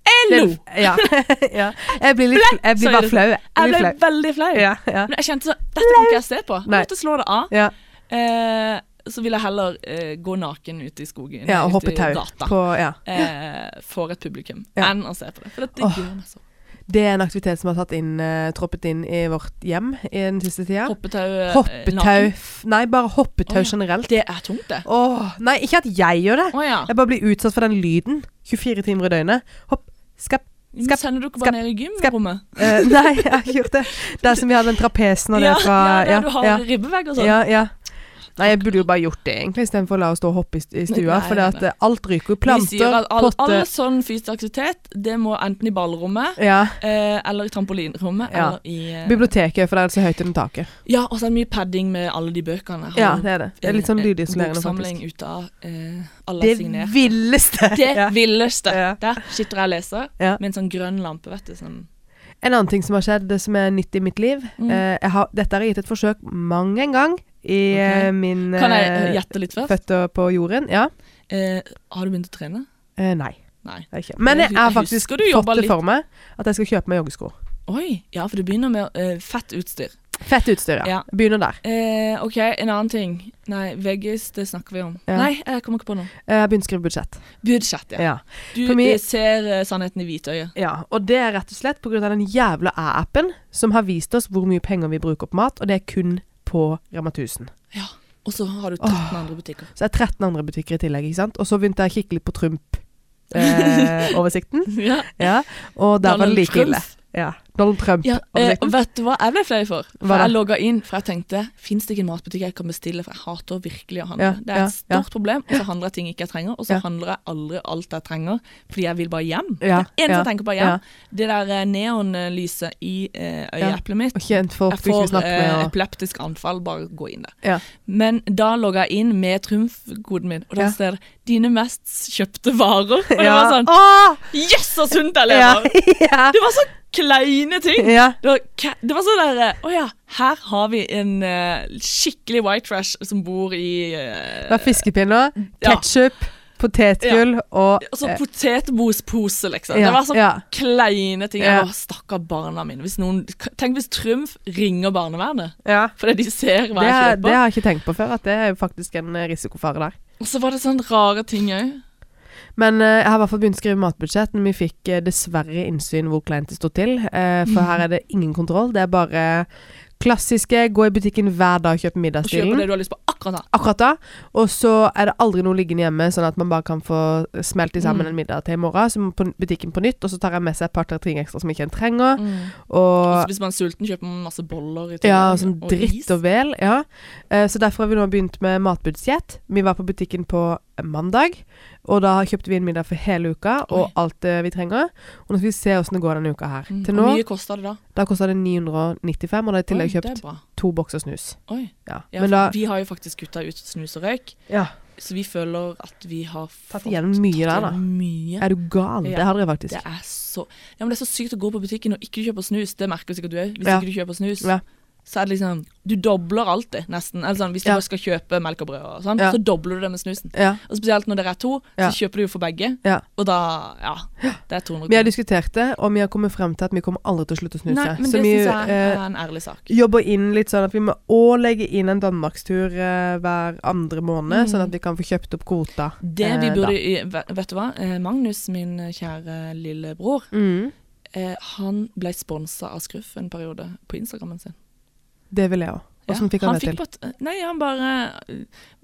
A: Det-
B: LO!
A: ja. eh, ja. Jeg blir litt Jeg blir
B: Sorry,
A: bare flau. Jeg
B: Jeg
A: blir
B: ble
A: flau.
B: veldig flau.
A: Ja, ja.
B: Men jeg kjente sånn Dette kan ikke jeg se på. Jeg
A: Nei.
B: måtte slå det av.
A: Ja,
B: Eh, så vil jeg heller eh, gå naken ute i skogen.
A: ja og
B: ute
A: hoppe
B: i
A: tau
B: gata,
A: på Ja.
B: Eh, for et publikum.
A: Ja.
B: Enn å se på det. For det altså. gjør meg så
A: Det er en aktivitet som har tatt inn, eh, troppet inn i vårt hjem i den siste tida.
B: Hoppetau. eh,
A: Hoppetau
B: naken.
A: f- Nei, bare hoppetau
B: Å, ja.
A: generelt.
B: Det er tungt, det.
A: Åh, nei, ikke at jeg gjør det.
B: Å ja.
A: Jeg bare blir utsatt for den lyden 24 timer i døgnet. Hopp, skapp
B: Men
A: Skap-
B: Sender dere
A: skap-
B: bare ned i gymrommet?
A: Eh, Nei, jeg har ikke gjort det. Det er som vi har den trapesen og det
B: ja,
A: fra
B: ja, der du har
A: ja,
B: ribbevegg og sånn.
A: ja, ja. Nei, jeg burde jo bare gjort det, egentlig, istedenfor å la oss stå og hoppe i st- i stua.
B: Nei,
A: For det
B: nei,
A: at
B: nei.
A: eh, alt ryker jo.
B: Vi sier
A: Planter,
B: at all, all
A: potter
B: sånn fysisk aktivitet, det må enten i ballrommet,
A: Ja.
B: eh, eller i trampolinrommet,
A: Ja.
B: eller i eh,
A: Biblioteket, for det er så høyt under taket.
B: Ja, og så er det mye padding med alle de bøkene. Jeg
A: Ja,
B: har jo
A: det er det. Det er litt sånn
B: en- en
A: lydisolerende,
B: Boksamling
A: faktisk.
B: ut av eh, alle
A: Det
B: er signert.
A: villeste!
B: Det
A: Ja.
B: villeste.
A: Ja.
B: Der sitter jeg og leser
A: Ja.
B: med en sånn grønn lampe, vet du. Sånn.
A: En annen ting som har skjedd, det som er nytt i mitt liv
B: Mm.
A: eh, jeg har, Dette har jeg gitt et forsøk mang en gang i
B: Ok.
A: eh, min
B: Kan jeg eh,
A: eh,
B: gjette litt først?
A: føtter på jorden. Ja.
B: Eh, har du begynt å trene?
A: Eh, nei.
B: Nei.
A: det er Ikke. Men jeg
B: Jeg
A: har
B: husker
A: faktisk
B: du jobbet
A: fått det
B: litt.
A: for meg at jeg skal kjøpe meg joggesko.
B: Oi, ja, for det begynner med eh, fett utstyr.
A: Fett utstyr, ja.
B: Ja.
A: Begynner der.
B: Eh, OK, en annen ting. Nei, veggis, det snakker vi om.
A: Ja.
B: Nei, jeg kommer ikke på noe.
A: Eh, Jeg begynner å skrive budsjett.
B: Budsjett, ja.
A: Ja.
B: Du
A: For meg-
B: eh, ser eh, sannheten i hvitøyet.
A: ja. Og det er rett og slett pga. den jævla æ-appen som har vist oss hvor mye penger vi bruker på mat, og det er kun på Rema 1000.
B: Ja. Og så har du 13 andre butikker.
A: Så det er 13 andre butikker i tillegg, ikke sant. Og så begynte jeg å kikke litt på eh, Trump-oversikten.
B: Ja,
A: ja. Og der var
B: Donald
A: det like ille.
B: Trump.
A: Ja. Donald Trump.
B: Ja, eh, og
A: oversikten.
B: vet du hva jeg ble flau for?
A: Hva
B: For
A: da?
B: jeg logga inn, for jeg tenkte Fins det ikke en matbutikk jeg kan bestille, for jeg hater virkelig å
A: Ja,
B: handle. det er
A: ja,
B: et stort problem, og så handler jeg ting ikke jeg trenger, og så
A: Ja.
B: handler jeg aldri alt jeg trenger, fordi jeg vil bare hjem.
A: Ja,
B: det
A: ja,
B: eneste jeg tenker på er hjem. Det der eh, neonlyset i eh, øyeeplet mitt.
A: og kjent folk
B: Jeg
A: du ikke
B: får
A: snakker med.
B: eh,
A: Og...
B: epileptisk anfall, bare gå inn der.
A: Ja.
B: Men da logga jeg inn med trumfkoden min, og da
A: Ja.
B: ser jeg 'dine mest kjøpte varer'. Og det
A: Ja.
B: var sånn
A: Åh!
B: Yes, så sunt jeg
A: Ja,
B: lever!
A: ja,
B: Det var så kleine ting.
A: ja.
B: Det var, ka- det var sånn der Å ja, her har vi en eh, skikkelig white trash som bor i
A: Det
B: uh,
A: var fiskepinner,
B: Ja.
A: ketsjup, potetgull og
B: Altså
A: eh,
B: potetmospose, liksom.
A: ja,
B: det var sånn
A: ja.
B: kleine ting.
A: Ja.
B: Jeg var, Stakkar barna mine. Hvis noen, tenk hvis Trumf ringer barnevernet
A: ja.
B: fordi de ser hva
A: Det,
B: jeg
A: er, det
B: kjøper.
A: har jeg ikke tenkt på før, at det er jo faktisk en eh, risikofare der.
B: Og så var det sånne rare ting òg.
A: Men eh, jeg har i hvert fall begynt å skrive matbudsjett, men vi fikk eh, dessverre innsyn hvor kleint det står til. eh, for her er det ingen kontroll. Det er bare klassiske gå i butikken hver dag og kjøpe
B: Og kjøper
A: middagsstilen.
B: det du har lyst på akkurat da.
A: Akkurat da. Og så er det aldri noe liggende hjemme, sånn at man bare kan få smelt i sammen
B: Mm.
A: en middag til i morgen. Så må på butikken på nytt, og så tar jeg med seg et par-tre ting ekstra som ikke en trenger.
B: Og
A: Mm. Og
B: så hvis man er sulten, kjøper man masse boller i
A: Ja,
B: tillegg,
A: sånn dritt
B: is.
A: og vel. Ja. Eh, Så derfor har vi nå begynt med matbudsjett. Vi var på butikken på mandag, og da kjøpte vi en middag for hele uka og
B: Oi.
A: alt det vi trenger. Og nå skal vi se åssen det går denne uka her.
B: Mm.
A: Til
B: Hvor
A: nå
B: mye kosta det da?
A: da kosta det 995, og da har jeg i tillegg
B: Oi, det er
A: kjøpt
B: bra.
A: to bokser snus.
B: Oi.
A: Ja.
B: Ja,
A: Men
B: for
A: da
B: vi har jo faktisk kutta ut snus og røyk,
A: ja.
B: så vi føler at vi har fått
A: igjennom mye
B: tatt
A: der, da.
B: igjennom Mye.
A: Er du gal?
B: Ja.
A: Det hadde jeg faktisk.
B: Det er så Ja, men det er så sykt å gå på butikken og ikke kjøpe snus. Det merker sikkert du òg. Hvis
A: Ja.
B: ikke du kjøper snus,
A: Ja.
B: så er det liksom Du dobler alltid, nesten. Eller sånn, hvis du
A: Ja.
B: bare skal kjøpe melk og brød og sånn,
A: Ja.
B: så dobler du det med snusen.
A: Ja.
B: Og spesielt når dere er to,
A: Ja.
B: så kjøper du jo for begge,
A: Ja.
B: og da Ja. Det er 200
A: Vi har diskutert det, og vi har kommet frem til at vi kommer aldri til å slutte å snuse.
B: Nei, men
A: Så
B: det
A: vi,
B: syns jeg
A: eh,
B: er en ærlig sak.
A: jobber inn litt sånn at vi må òg legge inn en danmarkstur eh, hver andre måned, sånn at vi kan få kjøpt opp kvota.
B: Mm. Det vi
A: eh,
B: burde i- Vet vet du hva? Eh, Magnus, min kjære lillebror,
A: da. Mm.
B: eh, han ble sponsa av Skruff en periode på Instagrammen sin.
A: Det vil jeg òg.
B: Ja,
A: Åssen fikk han, det til?
B: fikk bare- nei, han bare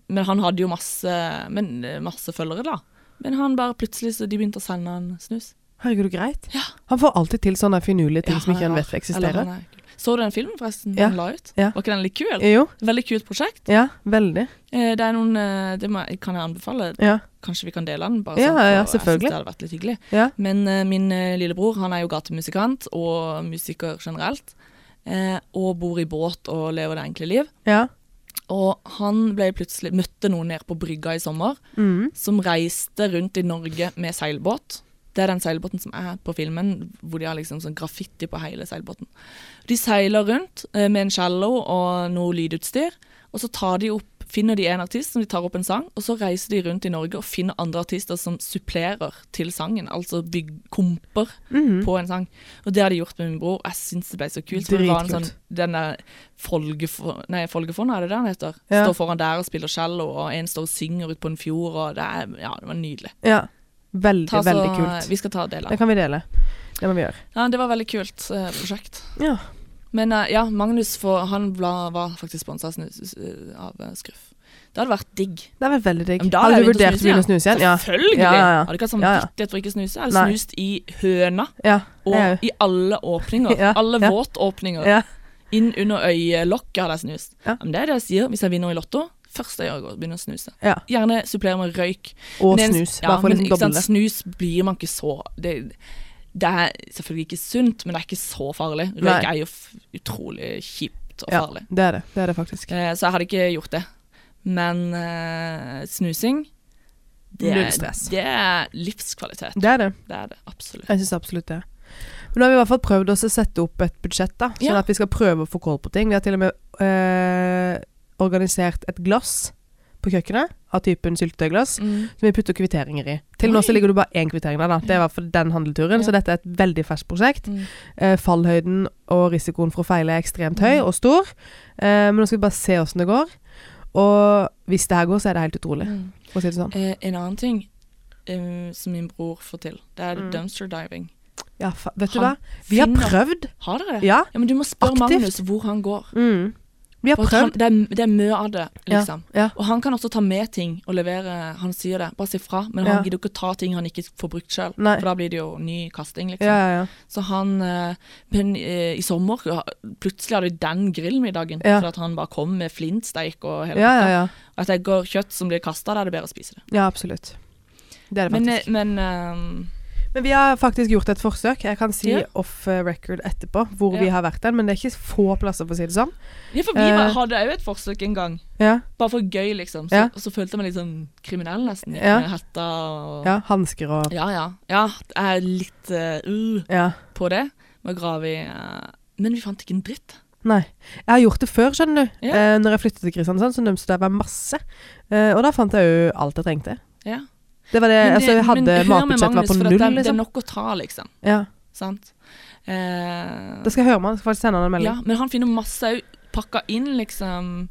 B: Men han hadde jo masse, men, eh, masse følgere, da. Men han bare plutselig så de begynte å sende han snus.
A: Herregud, greit.
B: Ja.
A: Han får alltid til sånne finurlige ting
B: Ja,
A: som ikke
B: er
A: han
B: rar.
A: vet
B: Eller
A: eksisterer.
B: han er kul. Så du den filmen forresten
A: Ja.
B: han la ut?
A: Ja.
B: Var ikke den litt kul?
A: Jo,
B: Veldig kult prosjekt.
A: ja, veldig.
B: Eh, Det er noen eh, Det må, jeg- kan jeg anbefale.
A: Ja.
B: Kanskje vi kan dele den? Bare
A: Ja,
B: sånn, for
A: ja,
B: jeg synes
A: selvfølgelig.
B: Det hadde vært litt hyggelig.
A: Ja.
B: Men eh, min eh, lillebror han er jo gatemusikant og musiker generelt. eh, og bor i båt og lever det enkle liv.
A: Ja.
B: Og han ble plutselig møtte noen nede på brygga i sommer
A: Mm.
B: som reiste rundt i Norge med seilbåt. Det er den seilbåten som er på filmen, hvor de har liksom sånn graffiti på hele seilbåten. De seiler rundt eh, med en cello og noe lydutstyr, og så tar de opp, finner de en artist som de tar opp en sang, og så reiser de rundt i Norge og finner andre artister som supplerer til sangen, altså bygg komper
A: Mhm.
B: på en sang. Og det har de gjort med min bror, og jeg syns det ble så kult. For det var en
A: Dritkult.
B: sånn, den der Folgefo- nei, Folgefonda, er det det han heter?
A: Ja.
B: Står foran der og spiller cello, og en står og synger ut på en fjord, og det, er, ja, det var nydelig.
A: ja. Veldig,
B: Ta så- eh,
A: veldig kult.
B: Vi skal ta del
A: Det
B: av.
A: kan vi dele. Det må vi gjøre.
B: Ja, det var veldig kult eh, prosjekt.
A: Ja.
B: Men eh, ja, Magnus for, han bla, var faktisk sponsa av eh, Skruff. Det hadde vært digg.
A: Det har vært veldig digg.
B: Men da
A: Har
B: er
A: du
B: det
A: vurdert å begynne å snuse igjen? Ja.
B: Selvfølgelig!
A: Ja, ja, ja.
B: Hadde ikke hatt sånn
A: Ja, ja.
B: samvittighet for ikke å snuse. Jeg hadde
A: Nei.
B: snust i høna,
A: ja.
B: og
A: Jeg-
B: i alle åpninger.
A: Ja,
B: alle
A: ja.
B: våtåpninger.
A: ja.
B: Inn under øyelokket hadde jeg snust.
A: Ja.
B: Men det er det jeg sier hvis jeg vinner i Lotto. Først jeg gjør, går, begynner å snuse.
A: Ja.
B: Gjerne supplere med røyk.
A: Og
B: Men en-
A: snus.
B: Ja,
A: Bare for å
B: men
A: liksom
B: ikke sant,
A: doble.
B: Snus blir man ikke så det, det er selvfølgelig ikke sunt, men det er ikke så farlig. Røyk
A: Nei.
B: er jo f utrolig kjipt og
A: Ja,
B: farlig.
A: det er det. Det er det faktisk.
B: Eh, så jeg hadde ikke gjort det. Men eh, snusing det
A: Null
B: er,
A: stress.
B: det er livskvalitet.
A: Det er det.
B: Det er det absolutt.
A: Jeg syns absolutt det. Men nå har vi i hvert fall prøvd oss å sette opp et budsjett, da. Sånn
B: Ja.
A: at vi skal prøve å få kål på ting. Vi har til og med eh, organisert et glass på kjøkkenet av typen syltetøyglass.
B: Mm.
A: Som vi putter kvitteringer i. Til nå så
B: Oi.
A: ligger det bare én kvittering der, da. Det var for den handelturen,
B: Ja.
A: så dette er et veldig ferskt prosjekt.
B: Mm.
A: Eh, fallhøyden og risikoen for å feile er ekstremt høy
B: Mm.
A: og stor. Eh, men nå skal vi bare se åssen det går. Og hvis det her går, så er det helt utrolig,
B: Mm.
A: for å si det sånn.
B: Eh, en annen ting eh, som min bror får til, det er
A: Mm.
B: dumpster diving.
A: Ja, fa vet du hva?
B: Han
A: Vi har
B: finner-
A: prøvd.
B: Har dere det?
A: Ja.
B: Ja, men du må spørre
A: Aktivt.
B: Magnus hvor han går.
A: Mm. Vi har
B: For at han,
A: prøvd.
B: det, er, det er mye av det,
A: Ja,
B: liksom.
A: ja.
B: Og han kan også ta med ting og levere Han sier det, bare si fra. Men
A: Ja.
B: han gidder ikke å ta ting han ikke får brukt sjøl.
A: Nei.
B: For da blir det jo ny kasting, liksom.
A: Ja, ja, ja.
B: Så han eh, Men eh, i sommer ja, plutselig hadde vi den grillmiddagen.
A: Ja.
B: For at han bare kom med flintsteik og hele
A: Ja, ja,
B: pakka.
A: ja.
B: Og At det går kjøtt som blir kasta, da er det bedre å spise det.
A: ja, absolutt. Det er det
B: Men,
A: faktisk.
B: eh, men eh,
A: Men vi har faktisk gjort et forsøk. Jeg kan si
B: Ja.
A: off eh, record etterpå hvor
B: Ja.
A: vi har vært den, men det er ikke få plasser, for å si det sånn.
B: Ja, for vi var,
A: Eh.
B: hadde jo et forsøk en gang.
A: Ja,
B: Bare for gøy, liksom. Så,
A: Ja.
B: Og så følte jeg meg litt sånn kriminell, nesten. Gikk
A: Ja.
B: Med hetta og
A: ja hansker og
B: Ja, ja. Ja, jeg er litt eh, uh,
A: Ja.
B: på det. Må grave i eh, Men vi fant ikke en dritt.
A: Nei. Jeg har gjort det før, skjønner du.
B: Ja.
A: Eh, når jeg flyttet til Kristiansand, så dømte jeg meg masse. Eh, og da fant jeg jo alt jeg trengte.
B: Ja.
A: Det var det,
B: Men det-
A: altså jeg hadde
B: men hør med
A: Matbudsjettet var
B: Magnus,
A: på
B: for at
A: null,
B: det, er- Det er
A: liksom.
B: nok å ta, liksom.
A: Ja.
B: Sant? Eh,
A: Da skal jeg høre med han. Skal faktisk sende han en melding.
B: ja, men han finner masse au- pakka inn, liksom.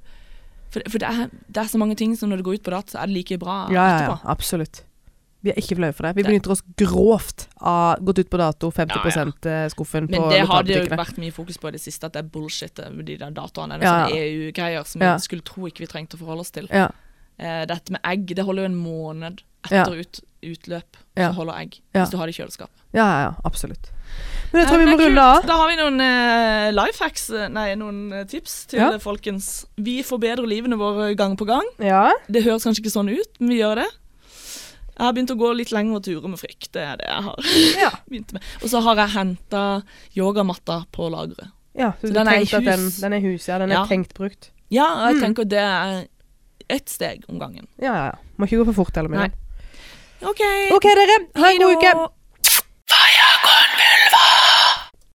B: For, for det, er, det er så mange ting som når det går ut på dato, så er det like bra
A: Ja, ja, ja.
B: etterpå.
A: Absolutt. Vi er ikke flaue for det. Vi
B: Det-
A: benytter oss grovt av gått ut på dato, 50
B: Ja,
A: eh, skuffen
B: Men
A: på
B: det har det jo
A: lokalbutikkene.
B: vært mye fokus på i det siste, at det er bullshit eh, de der datoene. Det er
A: Ja,
B: sånne
A: ja.
B: EU-greier som
A: Ja.
B: vi skulle tro ikke vi trengte å forholde oss til.
A: Ja.
B: Eh, dette med egg, det holder jo en måned
A: Ja.
B: etter ut, utløp.
A: Ja.
B: Så holder egg,
A: Ja.
B: hvis du har det i kjøleskapet.
A: Ja, ja, ja, absolutt. Men jeg tror vi
B: Ja, men
A: må
B: det er
A: runde
B: kult.
A: av.
B: Da har vi noen uh, life hacks, eh, nei, noen eh, tips til
A: Ja.
B: eh, folkens. Vi forbedrer livene våre gang på gang.
A: Ja.
B: Det høres kanskje ikke sånn ut, men vi gjør det. Jeg har begynt å gå litt lengre turer med frykt. Det er det jeg har
A: Ja.
B: begynt med. Og så har jeg henta yogamatta på lageret.
A: ja så
B: Så
A: du
B: den er i
A: tenkte at den,
B: hus.
A: den er i hus, ja. Den er
B: Ja.
A: tenkt brukt.
B: Ja, og jeg
A: Mm.
B: tenker det er ett steg om gangen.
A: Ja, ja, ja. Må ikke gå for fort heller med
B: Nei.
A: den.
B: OK.
A: OK, dere. Ha en god uke.
B: Hei da.